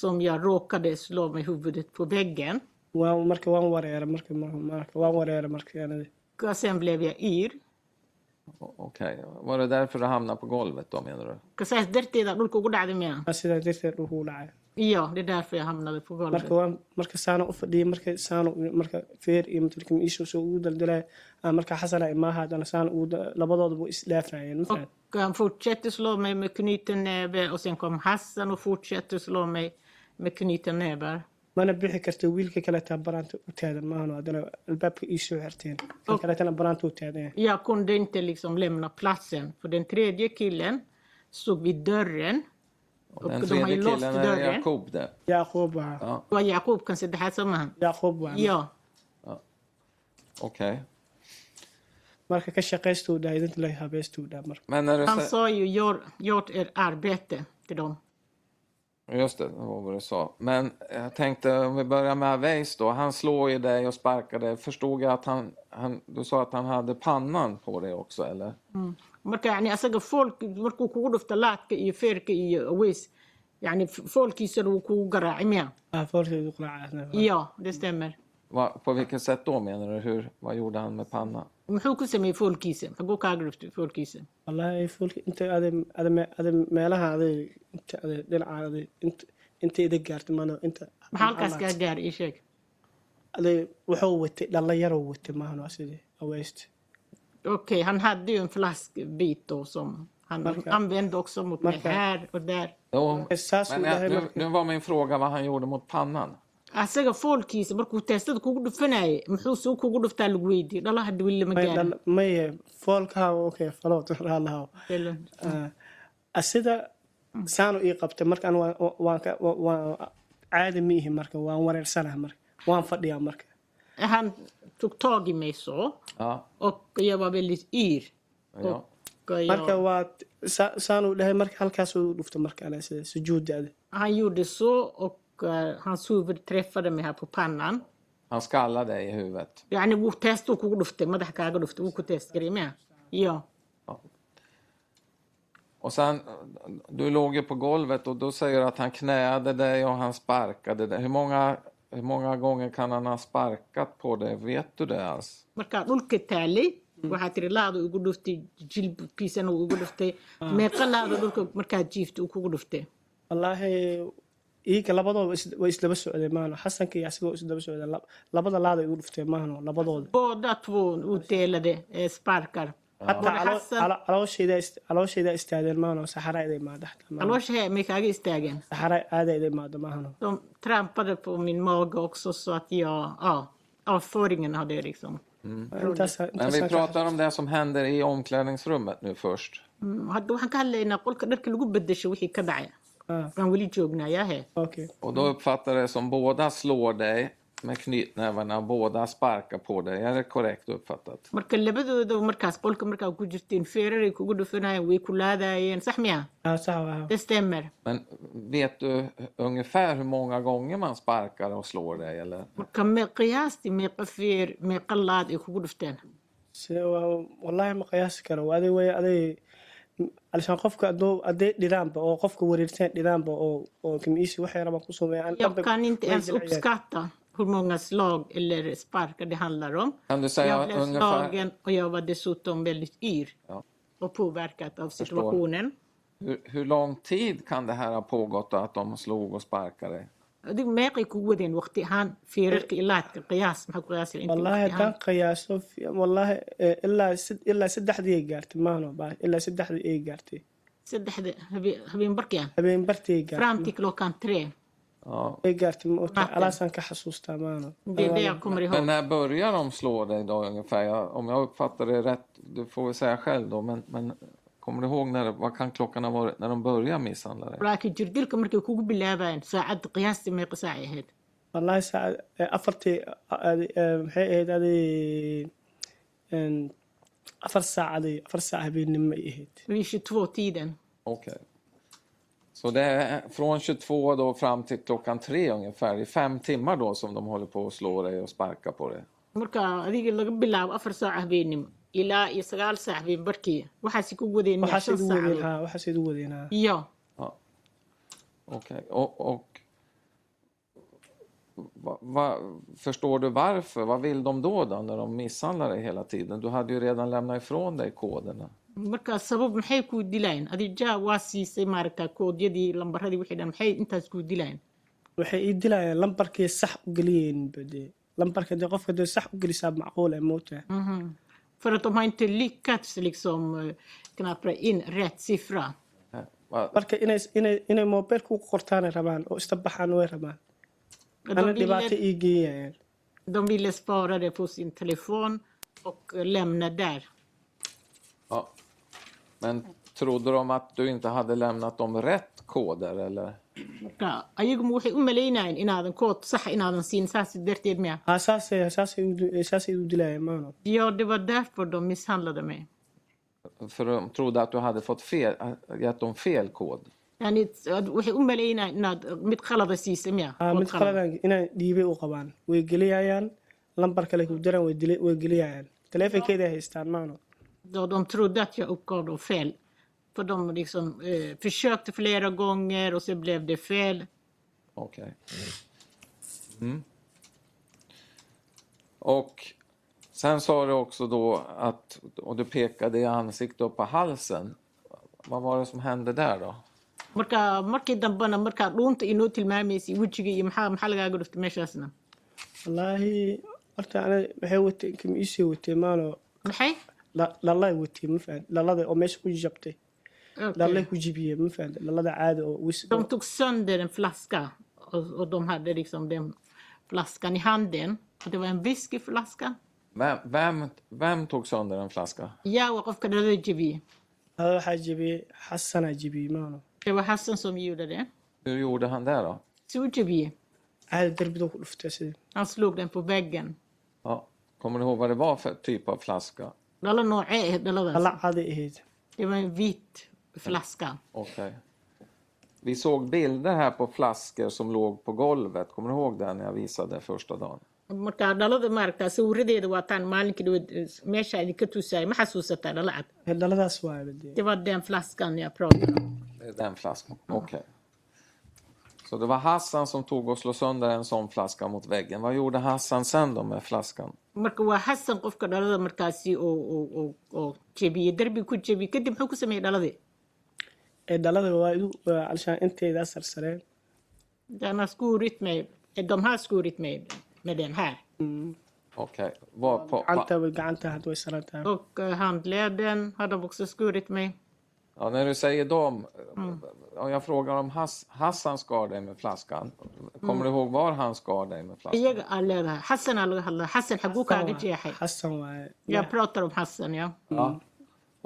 som jag råkade slå med huvudet på väggen. waan marka waan wareera marka mar- marka waan wareera marka aniga Och sen blev jag yr. O- Okej, var det därför du hamnade på golvet då menar du? Ka saas darteeda dhulka ugu dhacday miya Waa sidaa darteed dhulka u dhacay Ja, det är därför jag hamnade på golvet. marka waan marka saana u fadhiyay marka saana u- marka feer iyo matalkam iisho soo ugu daldalay marka xasana imaahaadana saana ugu da- labadoodaba isdhaafayeen Och mafahant han fortsätter slå mig med knuten näve och sen kom Hassan och fortsätter slå mig med knuten nävar. mana bixi karta wiilka kaleetaa baraanta u taadan maahano haddana albaabka iisoo xirteen kan kaleetana baraanta u taadan Jag kunde inte liksom lämna platsen för den tredje killen stod vid dörren och Den de har ju tredje låst killen är dörren. Jakob där. yaaqoob waa Ja, Det var Jakob kanske det här som han. yaaqoob waa Ja, okej. marka ka shaqaystuu dhaha idinta la habeystuu dhaha marka Men när du han sä- sa ju gör, gör er arbete till dem. Just det, det var vad du sa. Men jag tänkte om vi börjar med Aweys då. Han slår ju dig och sparkar dig. Förstod jag att han, han... Du sa att han hade pannan på dig också eller? marka yani asaga foolk markuu kugu dhufto laadka iyo feerka iyo aweys yani f- foolkiisana wuu kugu garaacay miya ah foorteedu quraacaa iyo det stämmer Va, på vilket sätt då menar du? Hur, vad gjorde han med pannan? muxuu ku sameeyey foolkiisa xaguu kaaga dhuftay foolkiisa wallaahi fuulka inta ada ada me- ada meelaha ada inta ada dhinaca ada inta inta ida gaartay maano inta maxaa halkaas kaa gaaray ii sheeg ada wuxuu watay dhallinyaroo watay maahano sidii aweysta okej han hade ju en flaskbit då som han Marka. använde också mot mig Marka. här och där Jo, saas uu men jag, dhahay nu, marka nu var min fråga vad han gjorde mot pannan. asaga foolkiisa markuu teestada kugu dhufanayay muxuu suu kugu dhuftaa lagu weydiiyey dhalaha dhawil lama may gaarin dhal- maye foolkaa okay falood raalahaw Ah, asida saanu ii qabtay marka anu waan- waan ka- waan- waan caadi ma ihi marka waan wareersanaha marka waan fadhiyaa marka han tog tag i mig så Ja, och jag var väldigt yr ja. Och jag- marka waa sa- saan uu dhahay marka halkaasuu dhufta marka ale sida sujuuddaada Han gjorde så och eh, hans huvud träffade mig här på pannan. Han skallade dig i huvudet. يعني wuu teesta uu kugu dhuftay madaxa kaaga dhuftay wuu ku teest gareemaya iyo Ja. Och sen, du låg ju på golvet och då säger du att han knäade dig och han sparkade dig. Hur många, hur många gånger kan han ha sparkat på dig? Vet du det alls? markaa dhulka taalay waxaa tiri laada igu dhuftay jilbabkiisana uu igu dhuftay meeqa laada dhulka markaa jiifta uu kugu dhuftay wallaahi iyaga labadooda is- way isdaba socdeen maahno xasanka iyo asigoo isdaba socdeen lab- labada laada igu dhuftee maahno labadooda boodhat wuu uu teelade ee sparkar hataa Mar calo- Xasan- calo- calooshaydaa is- calooshaydaa istaadeen maahno saxaraaday imaan dhexda maahno caloosha hee may kaaga istaageen saxaraa aadayda imaado maahno de trampade på min mage också så att jag ja oh, avföringen hade jag liksom intaas Men vi pratar om det som händer i omklädningsrummet nu först. Mm, hadda waxaan ka hadlaynaa qolka dharka lagu bedesho wixii ka dhacaya waan weli joognayaa hee ah, okay Och Mm. då uppfattar jag det som båda slår dig med knytnävarna och båda sparkar på dig. Är det korrekt uppfattat? marka labadooda markaas qolka markaa ku jirteen feeraray kugu dhufanayeen way ku laadayeen sax miya Ah, sax waa det stämmer Men vet du ungefär hur många gånger man sparkar och slår dig? Eller? marka me qiyaastii meeqa feer meeqa laad ay kugu dhufteen Se- waa- wallaahi ma qiyaasi karo aday way aday alshaan qofka haduu- hadday dhiraanba oo qofka wareersan dhiraanba oo oo kimiisi waxay rabaan ku sameeyaan jag kan inte way ens dilciyaan. uppskatta hur många slag eller sparkar det handlar om Kan du säga jag blev ungefär slagen och jag var dessutom väldigt yr Ja. och påverkad av Förstår. situationen hur, hur lång tid kan det här ha pågått då, att de slog och sparkade dig? adigu meeqay kugu wadeen waqti ahaan feerarka iyo laadka qiyaas maxaa ku qiyaasay inta wallaahi waqti haddaan ahaan qiyaaso fi- wallaahi eh, ilaa sed- ilaa saddexdii ay gaartay maano baa ilaa saddexdii ay gaartay saddexda habe- habeen barkii ah habeen bartii ay gaartay fram till klockan tre Ja. ay gaartay ma ogta Natten. alaasaan ka xasuustaa maano det är det jag kommer Men ihåg när börjar de slå dig då ungefär? Jag, om jag uppfattar det rätt, du får väl säga själv då, men, men kommer du ihåg när, det- vad kan klockan ha varit när de börjar misshandla dig? laakiin jirdilka markay kugu bilaabayeen saacadda qiyaastii meeqa saacay ahayd wallaahi saa eh, afartii a- adi- eh, maxay ahayd aday en, afar saac aday afar saac habeennimo ay ahayd vid 22-tiden Okej. Så det är från 22 då fram till klockan 3 ungefär, i fem timmar då som de håller på att slå dig och sparka på dig. marka adiga laga bilaabo afar saac habeenimo ilaa iyo sagaal saac habeenbarkii waxaasi ku wadeen shan waxaas igu saacadood. wadeen haa waxaas igu wadeen haa iyo Ja. Okej, och, och va, va, förstår du varför? Vad vill de då, då när de misshandlar dig hela tiden? Du hade ju redan lämnat ifrån dig koderna. marka sabab maxay kuu dilayeen adi ja waa siisay maaragta koodyadii lambaradii wixii dhan maxay intaas kuu dilayeen waxay ii dilayaan lambarkii sax u geliyeen badee lambarka dee qofka dee sax u gelisaa macquul ee moogtaa Mhm. För att de har inte lyckats liksom eh, knapra in rätt siffra. Eh, va- marka inay inay inay mobilka u qortaanay rabaan oo ista baxaan way rabaan De ana dhibaato ville, ii geeyayaan de ville spara det på sin telefon och eh, lämna där. Ja. Men trodde de att du inte hade lämnat dem rätt koder eller? Marka, ayaguma waxay u malaynayeen inaadan kood sax inaadan siin saas darteed miya haa saasay saasay u di- saasay u dilayaan maano Ja, det var därför de misshandlade mig. För de trodde att du hade fått fel, äh, gett dem fel kod. Yani, ad- waxay u malaynayeen inaad mid qalada siisay miya haa Kood mid qalad. qaladan inaan dhiibay u qabaan way geliyayaan lambar kale ku diraan way dili- way geliyayaan taleefankeeday haystaan maano Då de trodde att jag uppgav dem fel. För de liksom, eh, försökte flera gånger och så blev det fel. Okej. Mm. Och sen sa du också då att, och du pekade i ansiktet och på halsen. Vad var det som hände där då? marka markii dambena markaa dhuunta inoo tilmaamaysay wejiga iyo maxaa maxaa lagaaga dhuftay meeshaasna wallaahi horta ana waxay wateen kam iisii watee maano maxay dhallay watee ma fahan dhallada oo meesha ku jabtay dhallay Okej. ku jibiyee ma fahan dhallada caada oo wis de tog sönder en flaska och, och de hade liksom den flaskan i handen och det var en whiskyflaska Vem, vem, vem tog sönder en flaska? jag och qofka dhalada jebiyey hada waxaa jibiyey xasanaa jibiyey maano det var Hassan som gjorde det Hur gjorde han det då? så jebiyey caada derbidoo ku dhuftay sida han slog den på väggen Ja. Kommer du ihåg vad det var för typ av flaska? dhalo noocee ahayd dhaladaas dhalla caaday ahayd det var en vit flaska Okej. Vi såg bilder här på flaskor som låg på golvet. Kommer du ihåg det när jag visade första dagen? markaa dhalada maaragtaa sawiradeeda waataan maalinkii dhaweed meesha idinka tusaayay ma xasuusataa dhalacad dhaladaas waaya badiyay det var den flaskan jag pratade om Det är den flaskan. Okej. Så det var Hassan som tog och slog sönder en sån flaska mot väggen. Vad gjorde Hassan sen då med flaskan? marka waa xasan qofka dhalada markaasi oo oo- oo oo jebiyey derbi ku jebiyey kadib muxuu ku sameeyey dhaladii Ee, dhalada waa idu waa alshaan inteydaa sarsareen den har skurit mig de har skurit mig med den här Okej. Var på, på, gacanta gacanta hadda way saran tahay och eh, handleden har de också skurit mig ja, när du säger dem, om jag frågar om Hass, Hassan skar dig med flaskan. Kommer du ihåg var han skar dig med flaskan? iyaga aan leedahay xasan aa laga hadlaa xasan xaguu kaaga jeexay xasan waaye jag pratar om xasan ja Ja.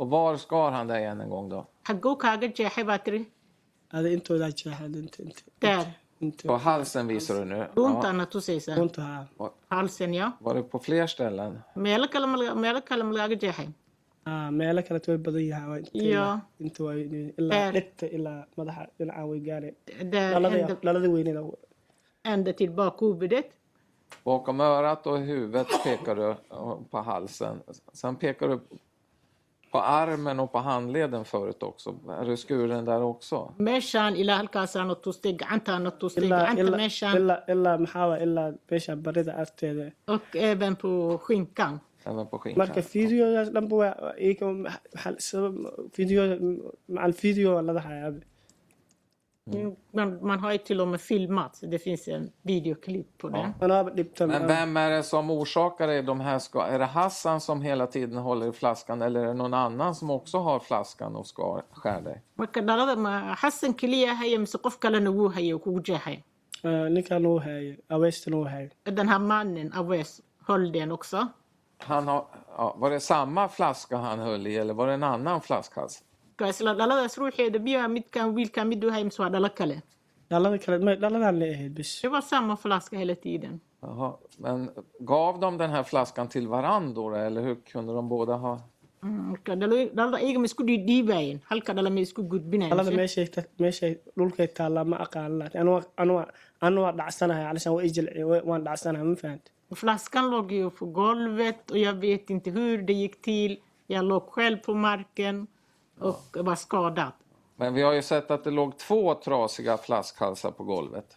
Och var skar han dig än en gång då? xaguu kaaga jeexay baa tiri ada intoodaa jeexaad inta inta daar inta På halsen visar du nu. Ja. dhuuntaan ha tusaysaa runta haa er halsen ja Var det på fler ställen? meelo kale ma laga- meelo kale ma lagaaga jeexay aa meelo kaleto way badan yahay waa inta Iyo. ilaa inta waa ilaa Dheer. dhegta ilaa madaxa dhinaca way gaareen Där dhalada ända, dhalada weynina ända till bakhuvudet Bakom örat och huvudet pekar du och på halsen. Sen pekar du på armen och på handleden förut också. Är du skuren där också? meeshaan ilaa halkaasaana tustay gacantaana tustay ilaa gacanta ilaa meeshaan ilaa ilaa maxaa waa ilaa meesha barida arteeda och även på skinkan Även på skinkan? marka fideodaas dhanba waa iyaga maxaa sabab fideoda macal fideo waa lada hayaa Man, man har ju till och med filmat. Det finns en videoklipp på det. manaaba dhibtan Men vem är det som orsakar dig de här ska... Är det Hassan som hela tiden håller i flaskan eller är det någon annan som också har flaskan och skar, skär dig? Marka dhalada ma Xasan keliya haya mise qof kalena wuu haya kugu jeexay. ninkan uu hayo aweystan uu hayo Den här mannen, Aves, höll den också. Han har, ja, var det samma flaska han höll i eller var det en annan flaskhals? Marka Isla dhaladaas ruuxeeda biyaha midkan wiilkan mid uu haya mise waa dhalo kale. dhalada kale ma dhaladan la ahayd bis Det var samma flaska hela tiden. Jaha. Men gav de den här flaskan till varandra eller hur kunde de båda ha... Mm, Marka dhalo- dhalada iyaga ma isku dhiidhiibayeen. Halka dhala ma isku gudbinayen. dhalada meeshay ta- meeshay dhulkay taallaa ma aqaan laakiin anuga anuga anuga waa dhacsanahay alashan waa ijilci waan dhacsanahay ma fahanta Flaskan låg ju på golvet och jag vet inte hur det gick till. Jag låg själv på marken och var skadad. Men vi har ju sett att det låg två trasiga flaskhalsar på golvet.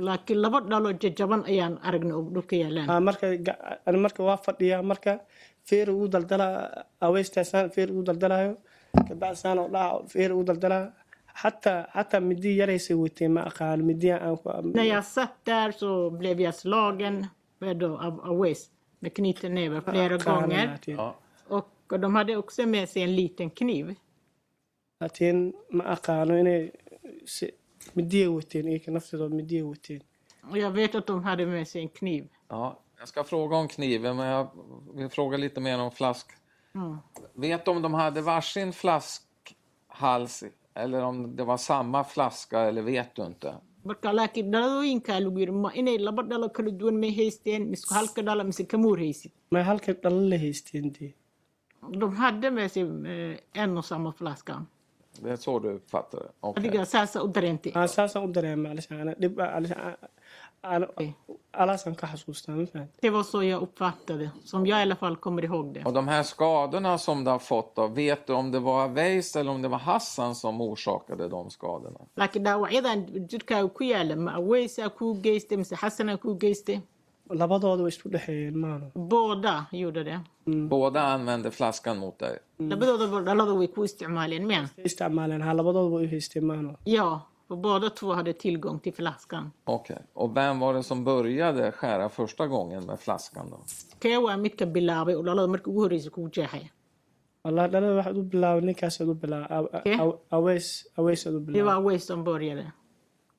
laakiin laba dhalo jajaban ayaan aragnay oo dhulka yaalaan Aa, آه، marka ga- ani marka waa fadhiyaa marka feer ugu daldala aweystaasaan feer ugu daldalayo kabacdisaan oo dhaca feer ugu daldalaa xataa xataa midi yaraysay weytay ma aqaan midiya aan ku När jag satt där så blev jag slagen med då, av, av Waze med knytnävar flera gånger. laakiin Ja. Och de hade också med sig en liten kniv. laakiin ma aqaano inay si- midiya weyteen iyaga naftooda midiya weyteen Och jag vet att de hade med sig en kniv. Ja, jag ska fråga om kniven, men jag vill fråga lite mer om flask. Vet du om de hade varsin flaskhals eller om det var samma flaska eller vet du inte? Marka laakiin dhaladooyinkaa lagu yidhi ma inay laba dhalo kala duwan may haysteen misku halka dhalo mise kamuur haysid. ma halka dhalo la haysteen dee De hade med sig eh, en och samma flaska. Det är så du uppfattar det? Okej. Adiga saasa u dareentay. aan saasaan u dareema alashan ana dhib ah, alashan ah, ana- alaasaan ka xasuustaa ma fahanta Det var så jag uppfattade, som jag i alla fall kommer ihåg det. Och de här skadorna som du har fått då, vet du om det var Weiss eller om det var Hassan som orsakade de skadorna? laakiin dhaawacyadan jirkaaga ku yaala ma aweysaa kuu geystay mise xasanaa kuu geystay labadooda way isku dhexeeyeen maano booda gjorde det Båda använde flaskan mot dig? labadoodaba dhalada way ku isticmaaleen miya isticmaaleen ha labadooda way u haysteen maano ja för båda två hade tillgång till flaskan Okej. Och vem var det som började skära första gången med flaskan då? kee waa midka bilaabay oo dhalada markii ugu horreysa kugu jeexay wallahi dhalada waxaad u bilaabay ninkaasad u Eh? bilaabay aweys aweysaad u det bilaabay var Waze som började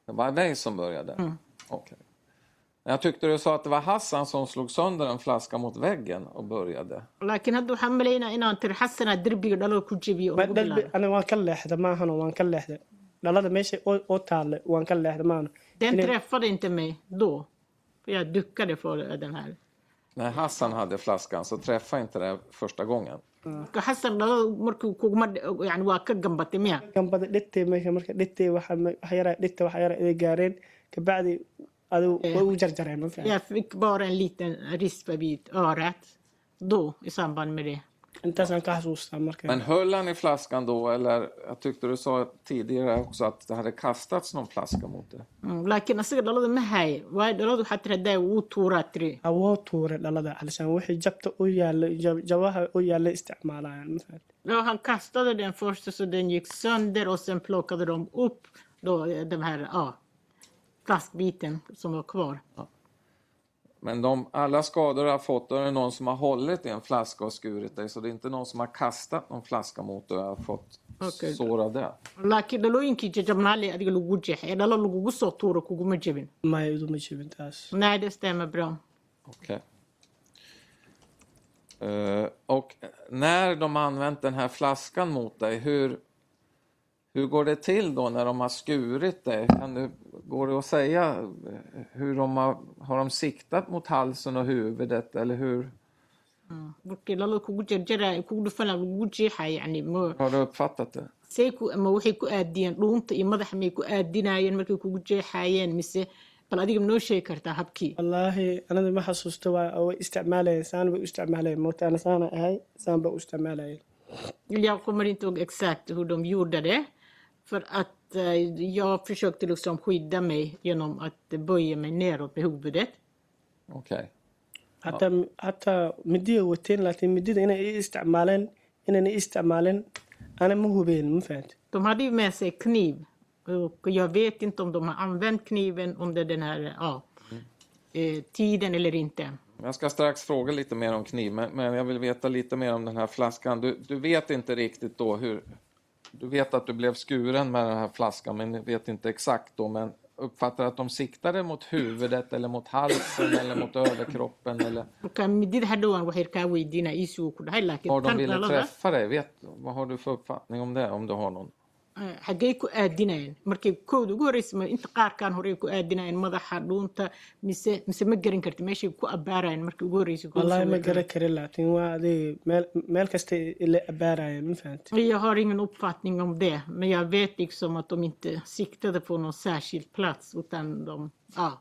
Det var dig som började? Okej. Jag tyckte du sa att det var Hassan som slog sönder en flaska mot väggen och började. laakiin hadda waxaan malaynaa inaan tiri xasanaa derbiga dhalada ku jebiyo oo Ma- lagu dhalbi- bilaabay ani waan ka leexda maahano waan ka leexda dhalada meesha oo- oo taalla waan ka leexda maahano den träffade inte mig då för jag duckade för den här När Hassan hade flaskan så träffade inte det första gången. xasan dhalada markii kuguma yani waa ka gambatay miya ganbada dhigtay meesha marka dhigtay waxa ma- waxa yara dhigtay waxa yara iday gaareen kabacdi aduu way u jarjareen ma fiicna Jag fick bara en liten rispa vid örat då i samband med det. intaasaan ka xasuustaa marka Men höll han i flaskan då eller jag tyckte du sa tidigare också att det hade kastats någon flaska mot dig? Mm, laakiin asiga dhalada ma haye waayo dhaladu waxaa tiraahdaa wuu tuuraa tiri awoo tuure dhalada halshaan wixii jabta u yaalla jab- jabaha u yaalla isticmaalayaan masalan Ja, han kastade den först och så den gick sönder och sen plockade de upp då eh, den här ja, flaskbiten som var kvar. Men de, alla skador du har fått, då är det någon som har hållit i en flaska och skurit dig. Så det är inte någon som har kastat någon flaska mot dig och har fått Okej. sår av det. laakiin dhalooyinkii jajabnaa le adiga lagugu jeexay ee dhalo lagugu soo tuuro kuguma jebin maya iduma jibin taas nej det stämmer bra Okej. Eh, och när de har använt den här flaskan mot dig, hur, hur går det till då när de har skurit dig? Kan du, går det att säga eh, hur de har, har de siktat mot halsen och huvudet eller hur markii dhalo kugu jarjarayo kugu dhufanaa lagugu jeexaya yani ma har du uppfattat det? say ku ama waxay ku aadiyeen dhuunta iyo madaxa may ku aadinayeen markay kugu jeexayeen mise bal adiga noo sheegi kartaa habkii wallaahi anada ma xasuusto waa way isticmaalayeen saan bay u isticmaalayeen moota ana saana ahay saan bay u isticmaalayeen Jag kommer inte ihåg exakt hur de gjorde det. För att eh, jag försökte liksom skydda mig genom att böja mig neråt med huvudet. Okej. hataa hataa midiga wateen laakiin midida inay i isticmaaleen inayna i isticmaalin ana ma hubeen ma fahamti De hade ju med sig kniv. Och jag vet inte om de har använt kniven under den här ja, Mm. eh, tiden eller inte. Jag ska strax fråga lite mer om kniv, men, men jag vill veta lite mer om den här flaskan. Du, du vet inte riktigt då hur... Du vet att du blev skuren med den här flaskan, men du vet inte exakt då. Men uppfattar att de siktade mot huvudet eller mot halsen eller mot överkroppen? Eller Marka midida hadhowaan waxay kaa weydiinaa iisuu ku dhahay har laakiin de tan ville dhalada träffa dig? Vet, vad har du för uppfattning om det, om du har någon? eh, xaggay ku aadinayeen markay kooda ugu horreysay ma inta qaarkaan horey ku aadinayeen madaxa dhuunta mise mise ma garan karti meeshay ku abbaarayeen markii ugu horreysay kugu wallaahi soo ma weerareen. garan karin laakiin waa adig meel meel kasta ila abaarayeen ma fahamti Jag har ingen uppfattning om det, men jag vet liksom att de inte siktade på någon särskild plats, utan de, ja, eh,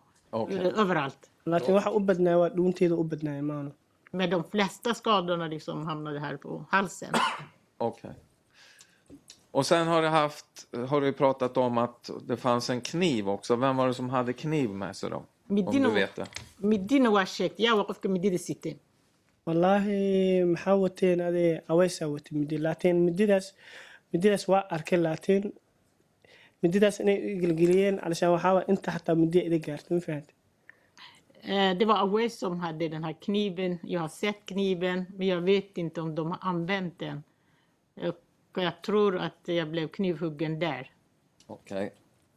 Okej. överallt. laakiin waxa u badnaa waa dhuunteeda u badnaaya maanu Men de flesta skadorna liksom hamnade här på halsen. Okej. Och sen har du, haft, har du pratat om att det fanns en kniv också. Vem var det som hade kniv med sig då? Om Midina du vet det. midina waa sheegtay yaa waa qofka midida sitay wallaahi maxaa wateen adi aweysaa watay midi laakiin mididaas mididaas waa arkay laakiin mididaas inay i gelgeliyeen alshaan waxaa waa inta xataa midiya ida gaartay ma fahamti Eh, Det var Awais som hade den här kniven. Jag har sett kniven, men jag vet inte om de har använt den. Och jag tror att jag blev knivhuggen där. Okej.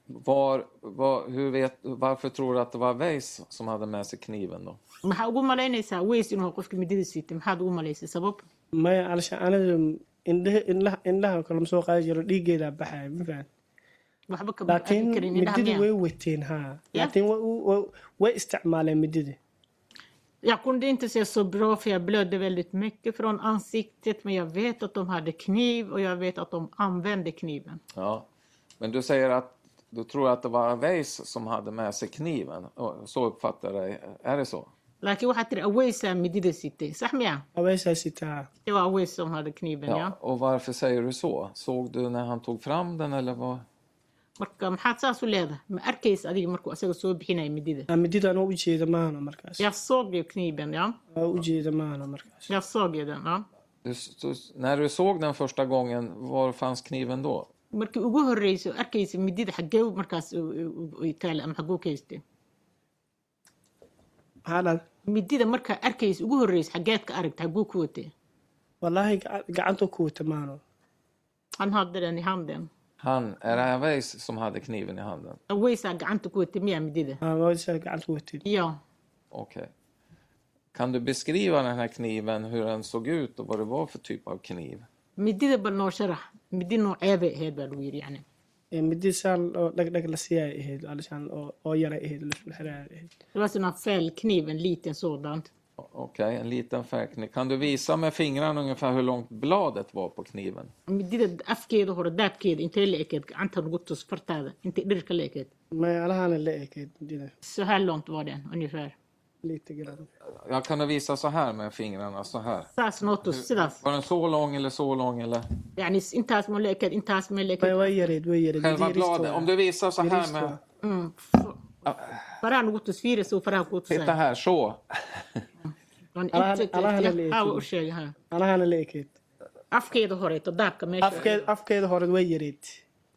Var, var, hur vet, varför tror du att det var Weiss som hade med sig kniven då? Maxaa ugu malaynaysaa Awais inuu qofka midida sitay? Maxaad ugu malaysay sabab? maya alshaan anada indhehe indhaha indhaha kalama soo qaadi jiro dhiigeedaa baxaya ma fahamti waxba kama laakiin arki karin indhaha midida miyaa way wateen haa laakiin way u- way- way isticmaaleen midida Jag kunde inte se så bra för jag blödde väldigt mycket från ansiktet men jag vet att de hade kniv och jag vet att de använde kniven. Ja. Men du säger att du tror att det var Weiss som hade med sig kniven. Och Så uppfattar jag dig. Är det så? Laakiin waxaa tiri aweysaa midida sitay sax miya aweysaa sitaa Det var aweys som hade kniven ja. Och varför säger du så? Såg du när han tog fram den eller vad? Marka maxaad saas u leedahay ma arkaysa adiga markuu asaga soo bixinaya midida. aa midida anoo ujeeda maahana markaas Jag såg ju kniven ja. aa ujeeda maahana markaas Jag såg ju den ja. Du, du, när du såg den första gången, var fanns kniven då? Markii ugu horreysay oo arkaysa midida xaggee markaas u- u- u- ay taala ama xagguu ka haystay. maxaa dhacday Midida markaa arkaysa ugu horreysay xaggeed ka aragta xagguu ku watay. wallaahi gaca- gacanta ku wata maano Han hade den i handen. Han, är det här Weiss som hade kniven i handen? aweysaa gacanta ku watay miyaa midida aawaysaa gacanta ku watay iyo Okej. Kan du beskriva den här kniven, hur den såg ut och vad det var för typ av kniv? midida bal noo sharax midi noocee bay ahayd baa lagu yidhi yacni Ee, midi saan oo dhagdhag la siyaay ahayd alishaan oo oo yaray ahayd lasulxiraay ahayd det var sån här fällkniv en liten sådan O- Okej, en liten färgkniv. Kan du visa med fingrarna ungefär hur långt bladet var på kniven? midida afkeeda hore daabkeeda intay la ekeed gacanta lagu tus fartaada intay dhirka la ekeed meelahan la ekeyd Medina Så här långt var den ungefär. lite grann. Jag kan visa så här med fingrarna, så här. ساس نوت Mm. السلاس Var den så lång eller så lång eller? يعني انتهت من لك انتهت من لك Way way yareed way yareed Själva Midii risto bladet. waa. Om du visar så här Jurist, med... va? Mm. Ah. فران قوتس فيرس وفران قوتس Titta här, så. Alla- alla hade blivit او kul. شيء ها anahana la ekeyd افكيد هوريت داك ماشي afkeed afkeeda horeed way yareed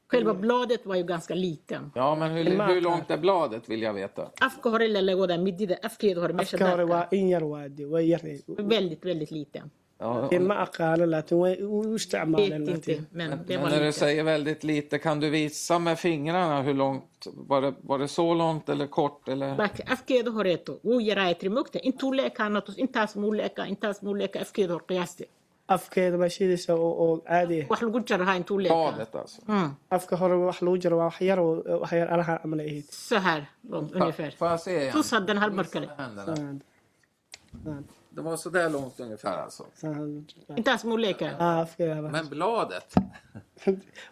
själva bladet var ju ganska liten Ja, men hur, hur långt är bladet vill jag veta. afka hore la lagoda midida afkeed hore meesha afka hore daaka waa in yar waade way yareed väldigt väldigt liten Ja, in ma aqaano laakiin way u vet isticmaaleen inte laakiin men det men var när du liten säger väldigt lite, kan du visa med fingrarna hur långt? Var det, var det så långt eller kort? Eller? bak afkeed horeeto wuu yaraa trimugta intuu leekaa natus intaas muu leekaa intaas muu leekaa afkeed hor qiyaasti afkeeda bashidiisa oo oo caadi ah wax lagu jarahaa intuu leekaa Bladet alltså. Mm, afka hore wax lagu jiro waa wax yar oo wax yar alaha amla ahayd så här långt ungefär Får jag se igen? tus haddan hal mar kale Händerna. Det var så där långt ungefär alltså. intaas muu leekaa آه، afkeeda Men bladet?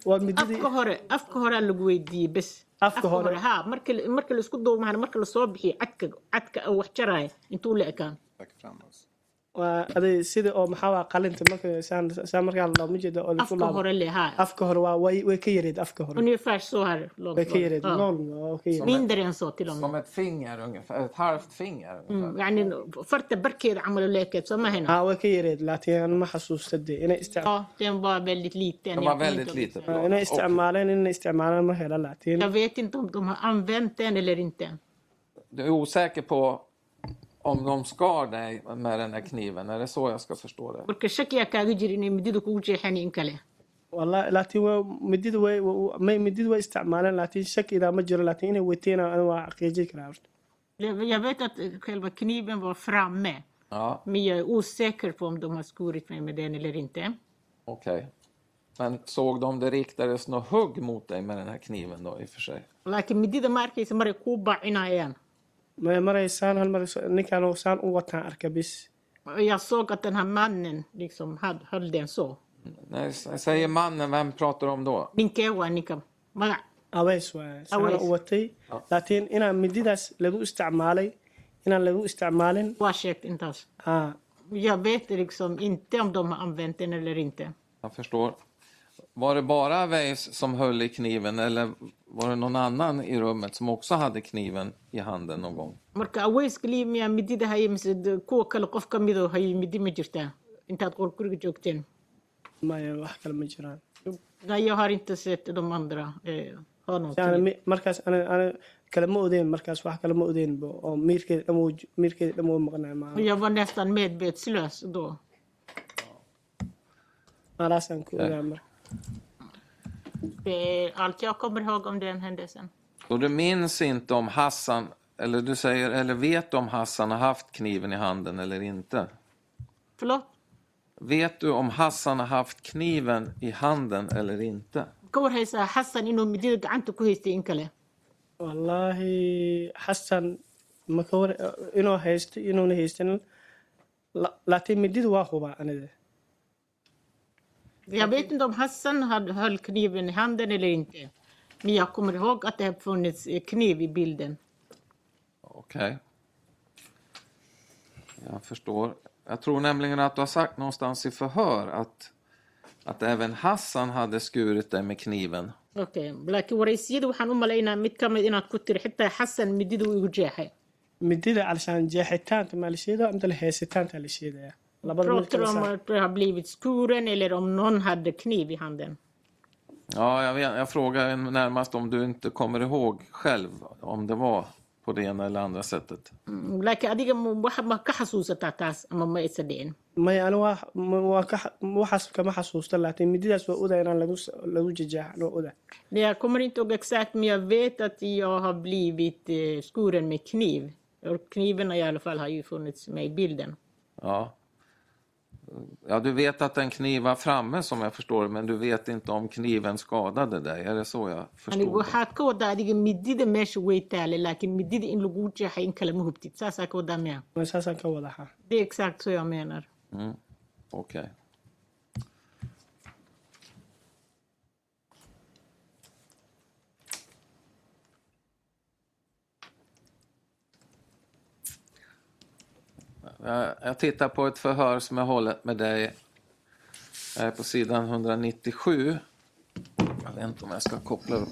waa mididii afka hore afka horea lagu weydiiyey bes Afka hore. ha marka marka laisku duumahan marka lasoo bixiyo cadka cadka wax jaraaya intuu leekaa alltså. waa aday sida oo maxaa waa qalinta marka saan saan markaa looma jeeda oo lagu afka laabo hore le ha afka hore waa way way ka yareed afka hore ungefär så här långt way var ka det. yareed Ja. nool waa ka yareed mindre än så till och med Som ett finger ungefär, ett halvt finger ungefär. Mm, يعني فرت بركيد عملوا لك سما هنا aa way ka yareed laakiin aan ma xasuusta dee inay isticmaaleen ja den var väldigt liten Det jag var kommer väldigt inte ihåg. litet blad. inay Och isticmaaleen inay isticmaaleen ma hela laakiin jag vet inte om de har använt den eller inte du är osäker på om de skar dig med den här kniven, är det så jag ska förstå det? marka shaki yaa kaaga jira inay midida kugu jeexeen in kale والله لكن و- مدد وي و- ما مدد وي استعمالا لكن شك اذا ما جرى لكن انه ويتينا انا وعقيجي كلام jag vet att själva kniven var framme Ja, men jag är osäker på om de har skurit mig med den eller inte okej. Men såg de det riktades något hugg mot dig med den här kniven då i och för sig? laakiin midida ma arkaysa maray kuu baacinayaan ما مريسان هل مريس نكا لو سان وطن اركبس jag såg att den här mannen liksom hade, höll den så När jag säger mannen, vem pratar de då? ninkee waa ninka magac اويس وسان أويس. وطي لكن انا مدداس لغو استعمالي انا لغو استعمالين waa sheegt intaas اه Jag vet liksom inte om de har använt den eller inte. Jag förstår. Var det bara Weiss som höll i kniven eller var det någon annan i rummet som också hade kniven i handen någon gång? Marka aweyska liimiyaa midida haya mise de- kuwa kale qof ka midoo hayay midi ma jirtaa intaad qorguriga joogteen. ما وحكى لما جران Nej, jag har inte sett de andra eh, ha انا någonting. يعني مي- مركز انا انا كلمه اودين مركز وحكى لما اودين بو او ميركي لما ميركي لما مقنع Och معاه Jag var nästan medvetslös då. ما راسن كل Det är allt jag kommer ihåg om den händelsen. Och du minns inte om Hassan, eller du säger, eller vet om Hassan har haft kniven i handen eller inte? Förlåt? Vet du om Hassan har haft kniven i handen eller inte? Ka warhaysaa Hassan inuu midida gacanta ku haystay in kale. والله حسن مكور انو هيست انو هيستن لا- لكن مدد واخوبا انا ده Jag vet inte om Hassan hade- höll kniven i handen eller inte. Men jag kommer ihåg att det har funnits eh, kniv i bilden. Okej. Jag förstår. Jag tror nämligen att du har sagt någonstans i förhör att, att även Hassan hade skurit dig med kniven. Okay. laakiin waraysyada waxaan u malaynaa mid ka mid inaad ku tiri xitaa xasan midida uu igu jeexay مدد علشان جاحتان تمالشيدا امد الهيستان تالشيدا لابد من pratar om كل att det har blivit skuren eller om någon hade kniv i handen. Ja, jag, vet, jag frågar närmast om du inte kommer ihåg själv om det var på det ena eller andra sättet. Mm, laakiin adiga ma wax ma ka xasuusataa taas ama ma isa dhicin ما انا واح- ما- واكح- وحسب كما حسوست لكن مدد وأودا انا لغوس لغو جاح انا اودا Nej, Jag kommer inte ihåg exakt men jag vet att jag har blivit eh, skuren med kniv. Och kniven i alla fall har ju funnits med i bilden. Ja. ja, du vet att en kniv var framme som jag förstår det, men du vet inte om kniven skadade dig. Är det så jag Anigu förstod det? waxaad ka wadaa adiga midida meesha way taalay laakiin midida in lagu jeexay in kale ma hubtid saasaa ka wadaa miya ما اساسا كوضحها Det är exakt så jag menar. Mm. Okej. Jag, jag tittar på ett förhör som jag hållit med dig eh, på sidan 197. Jag vet inte om jag ska koppla upp.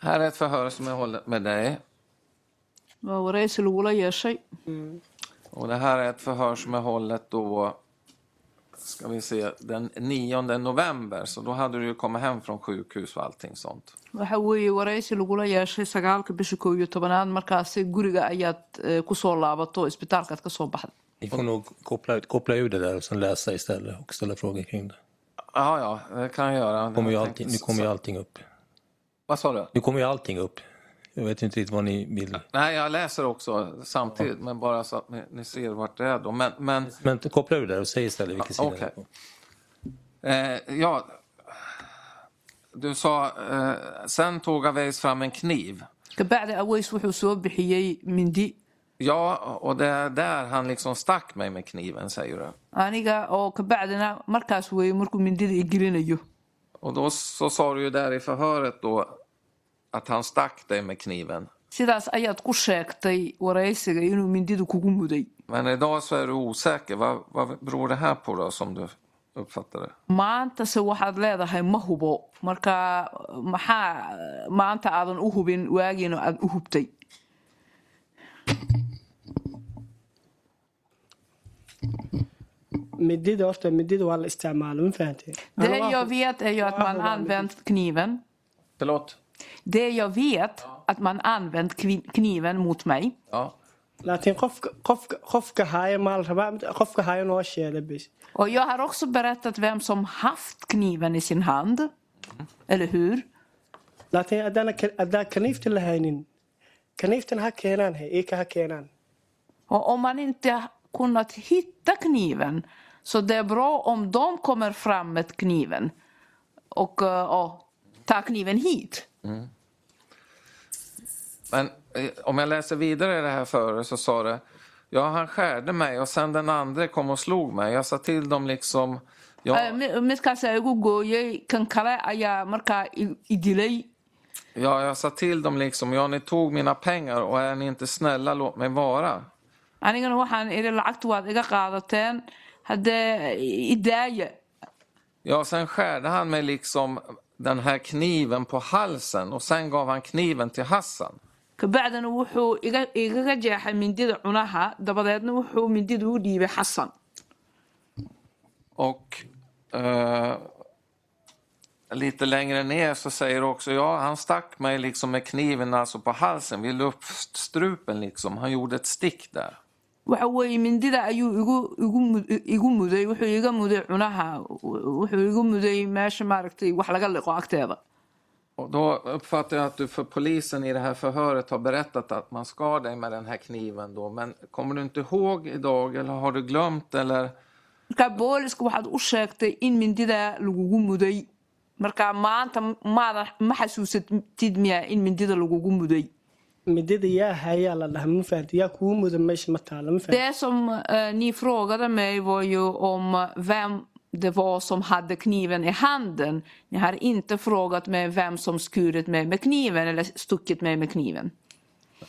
Här är ett förhör som jag hållit med dig. Waa waraysi lagula yeeshay Och det här är ett förhör som är hållet då, ska vi se, den 9 november. Så då hade du ju kommit hem från sjukhus och allting sånt. waxa weeye waraysi lagula yeeshay sagaalka bisha koob iyo tobanaad markaasi guriga ayaad eh, ku soo laabato isbitaalkaad ka soo baxda Ni får nog koppla, ut, koppla ur det där och sen läsa istället och ställa frågor kring det. Ja, ja, det kan jag göra. Kommer ju Jag allting, nu tänkte- kommer ju allting upp. Vad sa du? Nu kommer ju allting upp. Jag vet inte riktigt vad ni vill. Nej, jag läser också samtidigt, men bara så att ni, ni ser vart det är då. Men, men Men koppla ur det där och säg istället vilken sida det okej. är på. eh, ja, du sa, eh, sen tog Aweys fram en kniv. kabacdi aweys wuxuu soo bixiyey mindi Ja, och det är där han liksom stack mig med kniven, säger du. aniga oo kabacdina markaas weeye markuu mindida i gelinayo Och då så sa du ju där i förhöret då att han stack dig med kniven. sidaas ayaad ku sheegtay waraysiga inuu mindida kugu muday Men idag så är du osäker. Vad, vad beror det här på då som du uppfattar det? maantase waxaad leedahay ma hubo marka eh, maxaa eh, maanta aadan u hubin waagiina aad u hubtay midida horta midida waa la istacmaalay ma fahantay Det jag vet är ju att man använt kniven. Förlåt? Det jag vet att man använt kvin- kniven mot mig. Ja. laakiin qofka qofka qofka haya maa la rabaa mid- qofka haya noo sheegay bis Och jag har också berättat vem som haft kniven i sin hand. Eller hur? laakiin haddana ka- haddaan kaniifta la haynin kaniiftan ha keenaan he iika ha keenaan Och om man inte kunnat hitta kniven så det är bra om de kommer fram med kniven och eh, ja, tar kniven hit. Men eh, om jag läser vidare i det här före så sa det Ja, han skärde mig och sen den andra kom och slog mig. Jag sa till dem liksom... Eh, Ja, mi- Midkaas ayaa igu gooyay kan kale ayaa markaa i i dilay ja, jag sa till dem liksom, ja, ni tog mina pengar och är ni inte snälla, låt mig vara. anigana waxaan idhi lacagtu waad iga qaadateen haddee i daaya Ja, sen skärde han mig liksom den här kniven på halsen och sen gav han kniven till Hassan. kabacdana wuxuu iga- igaga jeexay mindida cunaha dabadeedna wuxuu mindida u dhiibay xasan Och eh, lite längre ner så säger du också, ja han stack mig liksom med kniven alltså på halsen, vid luftstrupen liksom. Han gjorde ett stick där. waxa weeye mindida ayuu igu- igu mud- igu muday wuxuu iga muday cunaha w- wuxuu igu muday meesha maaragtay wax laga liqo agteeda Och då uppfattar jag att du för polisen i det här förhöret har berättat att man skar dig med den här kniven då. Men kommer du inte ihåg idag eller har du glömt eller? marka booliska waxaad u sheegtay in mindida lagugu muday marka maanta maadan ma xasuusatid miya in mindida lagugu muday midida yaa hayaa la dhaha ma fahantay yaa kugu mudan meesha ma taala ma fahantay Det som eh, ni frågade mig var ju om vem det var som hade kniven i handen. Ni har inte frågat mig vem som skurit mig med kniven eller stuckit mig med kniven.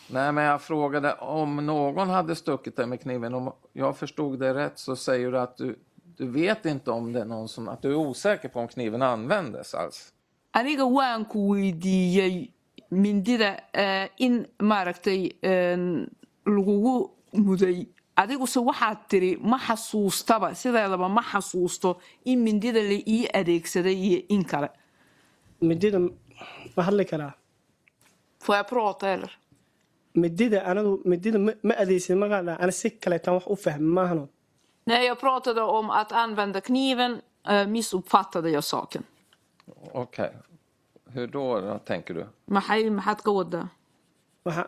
Nej, men jag frågade om någon hade stuckit dig med kniven. Om jag förstod dig rätt så säger du att du, du vet inte om det är någon som... Att du är osäker på om kniven användes alls. Aniga waan ku weydiiyey mindida eh, in maaragtay eh, lagugu muday adiguse waxaad tiri ma xasuustaba sideedaba ma xasuusto in mindida la ii adeegsaday iyo in kale midida ma hadli karaa Får jag prata eller? midida anigu midida ma- ma adeysan markaa dhaha ani si kaleetan wax u fahmi maahano När jag pratade om att använda kniven eh, missuppfattade jag saken. Okej. Hur då, då, tänker du? Maxay maxaad ka wadaa? waxa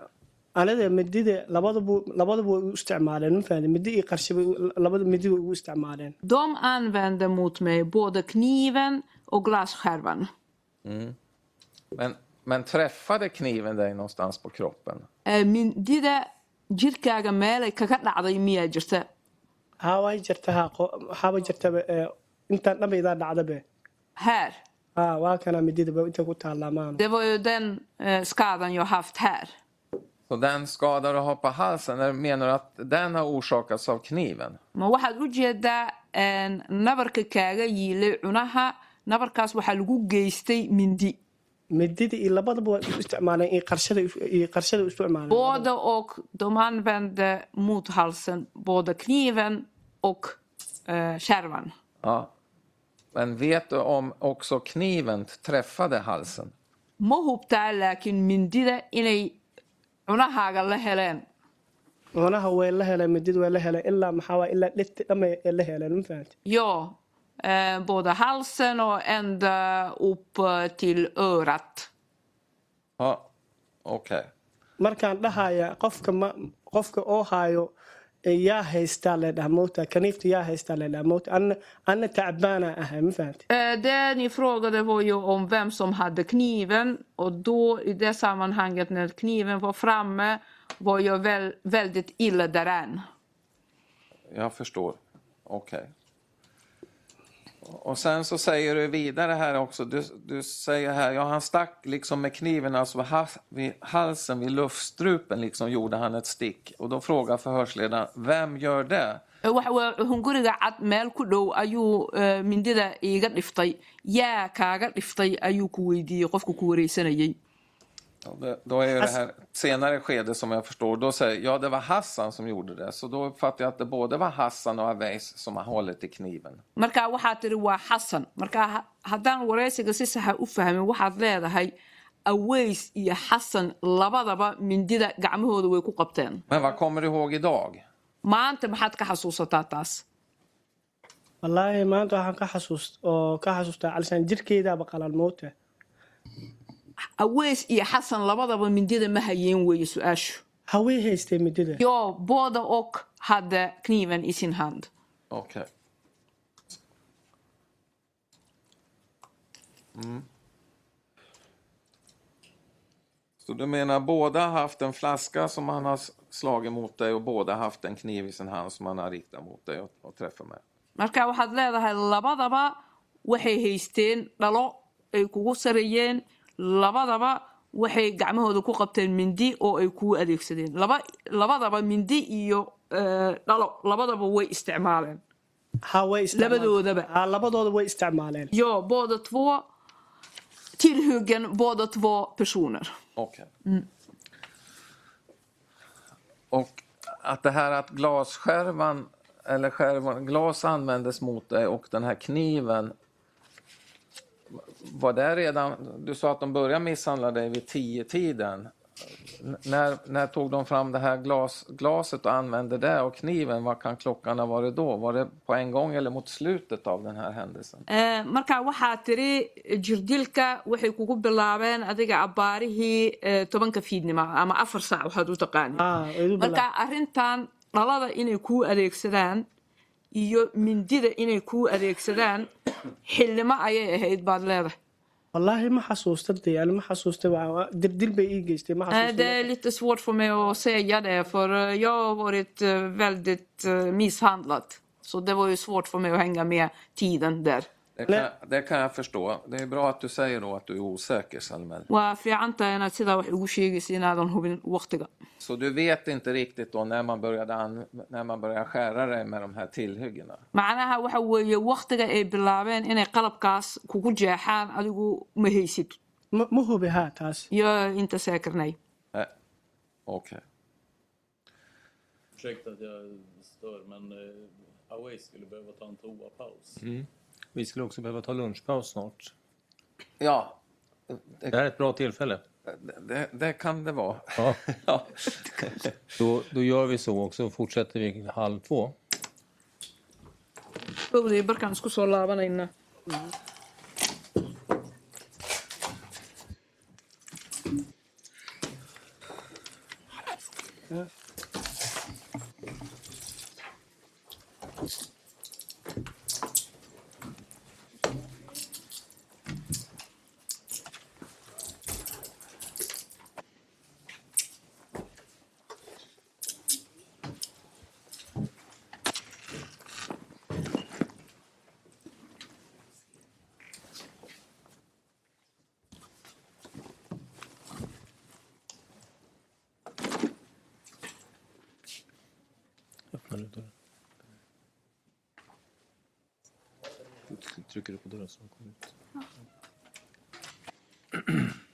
anada midida labadabu labadaba way u isticmaaleen ma fahantay midi iyo qarshi bay u- labada midi way ugu isticmaaleen De använde mot mig både kniven och glasskärvan. Men, men träffade kniven dig någonstans på kroppen? Ee, mindida jirkaaga meelay kaga dhacday miyaa jirta haa way jirta haa qo- haa way jirta ba, ee, intaan dhamaydaa dhacdabe här haa waa kana mididaba inta ku taallaa maana det var ju den eh, skadan jag haft här Så den skada du har på halsen, är- menar du att den har orsakats av kniven? ma waxaad u jeedaa een, nabarka kaaga yiilay cunaha nabarkaas waxaa lagu geystay mindi midida iyo labadaba waa isu isticmaaleen iyo qarshada isu- iyo qarshada isu isticmaaleen Både och. De använde mot halsen både kniven och eh, kärvan. Ja. Men vet du om också kniven träffade halsen? Ma hubtaa laakiin mindida inay cunahaaga la heleen cunaha way la heleen midid way la heleen ilaa maxaa waay ilaa dhirti dhamay ee la heleen ma fahamti Ja, eh, både halsen och ända upp eh, till örat. Ja, okej. markaan dhahaya qofka ma qofka oo haayo ee yaa haystaa leedhaha moogta kaniifta yaa haystaa leedhaha moogta anna anna tacbaana ahay ma fahamti Eh, Det ni frågade var ju om vem som hade kniven och då i det sammanhanget när kniven var framme var jag väl, väldigt illa däran. Jag förstår. Okej. Och sen så säger du vidare här också, du, du säger här, ja han stack liksom med kniven alltså vid, has, vid halsen, vid luftstrupen liksom gjorde han ett stick. Och då frågar förhörsledaren, vem gör det? waxa waa hunguriga cad meel ku dhow ayuu eh, mindida iiga dhiftay yaa kaaga dhiftay ayuu ku weydiiyey qofka ku wareysanayey Och det, då är ju det här senare skedet som jag förstår, då säger ja det var Hassan som gjorde det. Så då uppfattar jag att det både var Hassan och Aweis som har hållit i kniven. marka waxaa tiri waa xasan marka ha- haddaan wareysiga si saxa u fahmin waxaad leedahay aweys iyo xasan labadaba mindida gacmahooda way ku qabteen Men vad kommer du ihåg idag? maanta maxaad ka xasuusataa taas wallaahi maanta waxaan ka xasuust oo ka xasuustaa calishaan jirkeedaaba qalan moogta aweys iyo xasan labadaba mindida ma hayeen weeye su-aashu haway haystay midida yo båda och hade kniven i sin hand Okej. Mm. Så du menar båda har haft en flaska som han har s- slagit mot dig och båda har haft en kniv i sin hand som han har riktat mot dig och, och träffat med? marka waxaad leedahay labadaba waxay haysteen dhalo ay kugu sareeyeen labadaba waxay gacmahooda ku qabteen mindi oo ay kugu adeegsadeen laba labadaba mindi iyo eh, dhalo labadaba way isticmaaleen haway Labadoodaba. haa labadooda way isticmaaleen ja båda två tillhuggen båda två personer Okej. Och att det här att glasskärvan eller skärvan, glas användes mot dig och den här kniven. Var det redan, du sa att de började misshandla dig vid tio tiden. När, när tog de fram det här glas, glaset och använde det och kniven? Vad kan klockan ha varit då? Var det på en gång eller mot slutet av den här händelsen? Ee, Eh, marka waxaa tiri jirdilka waxay kugu bilaabeen adiga abbaarihii ee, tobanka fiidnima ama afar saac waxaad u taqaani haa idu marka arrintan dhalada inay kuu adeegsadaan iyo mindida inay kuu adeegsadaan xillimo ayay ahayd baad leedahay wallaahi ma xasuusta dee ani ma xasuusta waa- waa- dirdil bay ii geystay ma Eh, Det xasuusta är lite svårt för mig att säga det för eh, jag har varit eh, väldigt eh, misshandlad. Så det var ju svårt för mig att hänga med tiden där. Det kan, det kan jag förstå. Det är bra att du säger då att du är osäker, Salmel. Waa fiican tahay inaad sidaa wax ugu sheegaysa inaadan hubin waqtiga. Så du vet inte riktigt då när man började, an, när man började skära dig med de här tillhyggena? macnaha waxa weeye waqtiga ay bilaabeen inay qalabkaas kugu jeexaan adigu ma haysid ma ma hubi haa taas yo inta seekirnay Nej. Äh, Okej. Ursäkta att jag stör, men eh, Away skulle behöva ta en toapaus. Vi skulle också behöva ta lunchpaus snart. Ja, Det här är ett bra tillfälle. det- det, det kan det vara. Ja. Ja. Då, då gör vi så och så fortsätter vi halv två. dhowday barkaan isku soo laabanaynaa trycker du på dörren så de kommer ut.